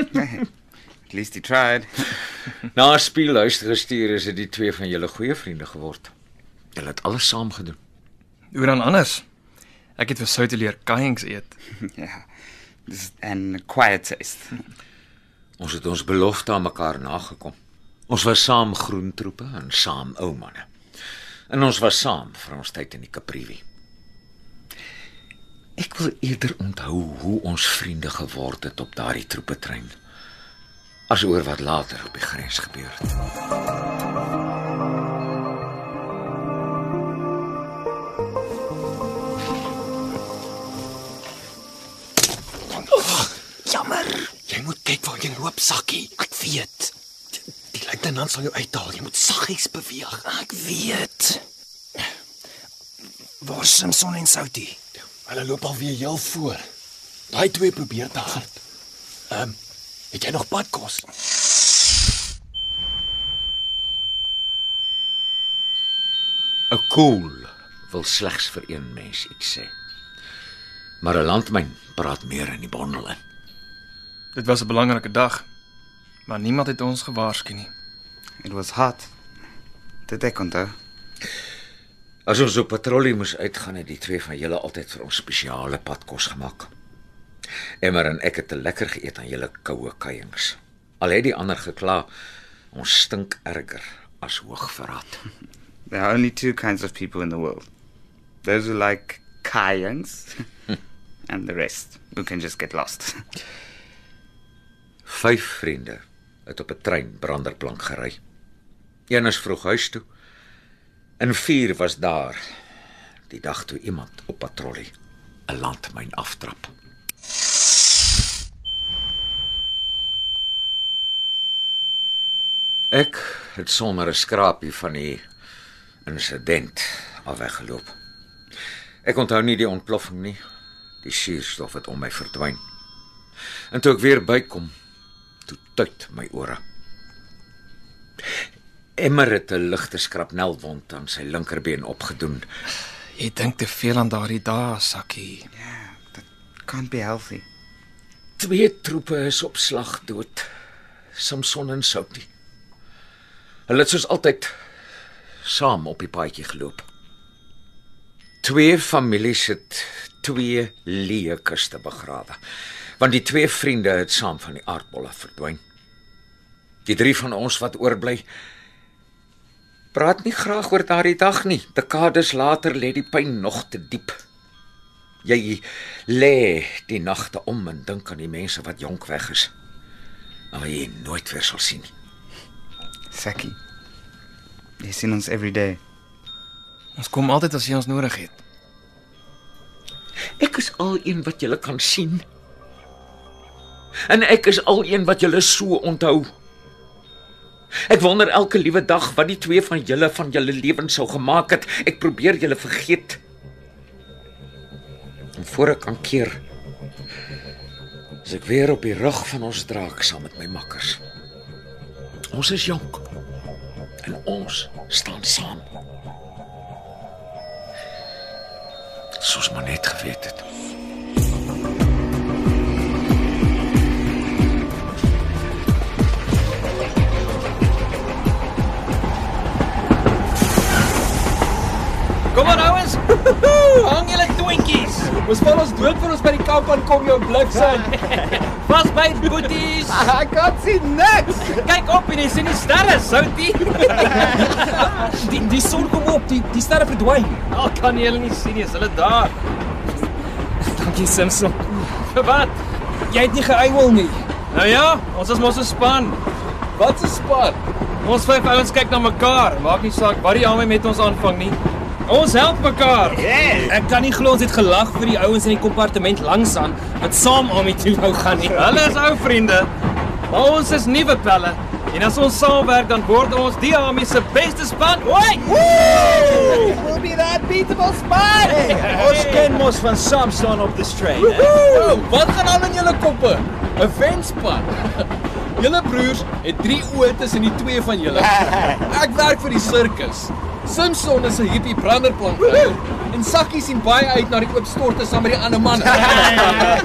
[SPEAKER 9] At least he tried.
[SPEAKER 5] Na speelhuis gestuur is dit die twee van julle goeie vriende geword. Julle het alles saam gedoen.
[SPEAKER 3] Hoe dan anders? Ek het vir Sou te leer kajings eet.
[SPEAKER 9] ja. Dis 'n quiet taste.
[SPEAKER 5] Ons het ons belofte aan mekaar nagekom. Ons was saam groentroepe en saam ou manne. En ons was saam vir ons tyd in die Kaprivi. Ek wil eerder onthou hoe ons vriende geword het op daardie troepetrein as oor wat later op die grens gebeur het.
[SPEAKER 19] Jammer.
[SPEAKER 8] Jy moet kyk waar jy loop, Sakkie. Ek weet. Die luitenant sal jou uithaal. Jy moet saggies beweeg.
[SPEAKER 19] Ek weet. Waar Simpson en Soutie?
[SPEAKER 8] Hulle loop alweer heel voor. Daai twee probeer te hard. Ehm, um, het jy nog padkos?
[SPEAKER 5] ‘n Koel wil slegs vir een mens iets sê. Maar 'n landmyn praat meer in die bondel in.
[SPEAKER 3] Dit was 'n belangrike dag, maar niemand het ons gewaarsku nie.
[SPEAKER 9] It was hot. Dit ek onthou.
[SPEAKER 5] As ons op patrollie moes uitgaan, het die twee van julle altyd vir ons spesiale padkos gemaak. Emmer en ek het te lekker geëet aan julle koue kuiings. Al het die ander gekla, ons stink erger as hoogverraad.
[SPEAKER 9] There are only two kinds of people in the world. Those who like kayaks and the rest who can just get lost.
[SPEAKER 5] Vyf vriende het op 'n trein branderplank gery. Een is vroeg huis toe. En vier was daar die dag toe iemand op patrollie 'n landmyn aftrap. Ek het sonder 'n skrapie van die insident al weggeloop. Ek onthou nie die ontploffing nie. Die suurstof het om my verdwyn. En toe ek weer bykom, toe tuit my ore. Emmer het 'n ligte skrapnelwond aan sy linkerbeen opgedoen.
[SPEAKER 6] Jy dink te veel aan daardie dae, Sakkie. Ja, dit
[SPEAKER 9] kan be healthy.
[SPEAKER 5] Twee troepe is op slag dood. Samson en Soutie. Hulle het soos altyd saam op die paadjie geloop. Twee families het twee leë kiste begrawe, want die twee vriende het saam van die aardbol af verdwyn. Die drie van ons wat oorbly, praat nie graag oor daardie dag nie. Dekades later lê die pyn nog te diep. Jy lê die nagte om en dink aan die mense wat jonk weg is. Maar jy nooit weer sal sien nie.
[SPEAKER 9] Sakkie. Jy sien ons every day.
[SPEAKER 6] Ons kom altyd as jy ons nodig het.
[SPEAKER 5] Ek is al een wat julle kan sien. En ek is al een wat julle so onthou. Ek wonder elke liewe dag wat die twee van julle van julle lewens sou gemaak het. Ek probeer julle vergeet. En voor ek kan keer, is ek weer op die rug van ons draak saam met my makkers. Ons is jonk. En ons staan saam. Soos maar net geweet het.
[SPEAKER 17] Kom maar ouens. Hoehoe, Hang julle twintjies. Ons val ons dood vir ons by die kamp aankom jou bliksin. Pas by boeties. Ek kan sien niks. Kyk op en jy sien die sterre, Soutie. die die son kom op, die die sterre verdwyn. Al kan jy hulle nie sien nie, is hulle daar. Dankie Simpson. Vir wat? Jy het nie geëiwel nie. Nou ja, ons is mos 'n span. Wat 'n span? Ons vyf ouens kyk na mekaar. Maak nie saak wat die almal met ons aanvang nie. Ons help mekaar. Yeah. Ek kan nie glo ons het gelag vir die ouens in die kompartement langs aan wat saam aan my toe wou gaan nie. Hulle is ou vriende. Maar ons is nuwe pelle. En as ons saamwerk dan word ons die Ami se beste span. Oei!
[SPEAKER 16] We'll be that beatable spot.
[SPEAKER 17] Ons ken mos van saam staan op die straat. Woehoe! Nou, Wat gaan aan in julle koppe? 'n Venspad.
[SPEAKER 18] Julle broers het drie oë tussen die twee van julle. Ek werk vir die sirkus. Simpson is 'n hippie branderplanter en Sakkie sien baie uit na die oop storte saam met die ander manne.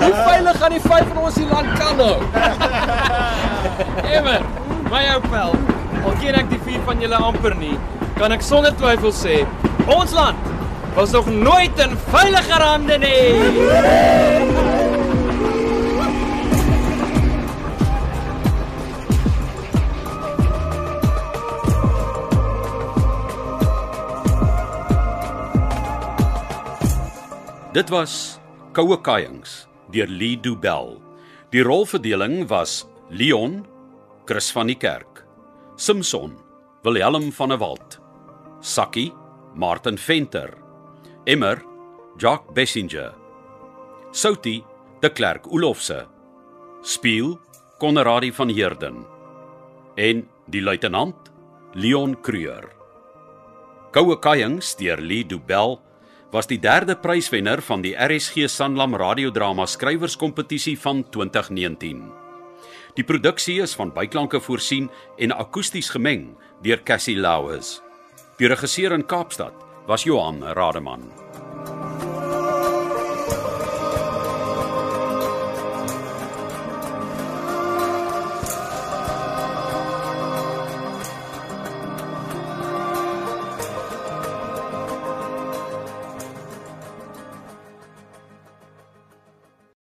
[SPEAKER 18] Hoe veilig gaan die vyf van ons die land kan nou? hou?
[SPEAKER 17] Emmer, my ou pel. Al ken ek die vier van julle amper nie, kan ek sonder twyfel sê, ons land was nog nooit in veiliger hande nie.
[SPEAKER 1] Dit was Koue Kajings deur Lee Du Bell. Die rolverdeling was Leon, Chris van die Kerk, Simpson, Wilhelm van der Walt, Sakkie, Martin Venter, Emmer, Jacques Bessinger, Soutie, De Klerk Olofse, Spieël, Konradi van Heerden en die luitenant Leon Creur. Koue Kajings deur Lee Du Bell was die derde pryswenner van die RSG Sanlam radiodrama skrywerskompetisie van 2019. Die produksie is van byklanke voorsien en akoesties gemeng deur Cassie Lauers. Die regisseur in Kaapstad was Johan Rademan.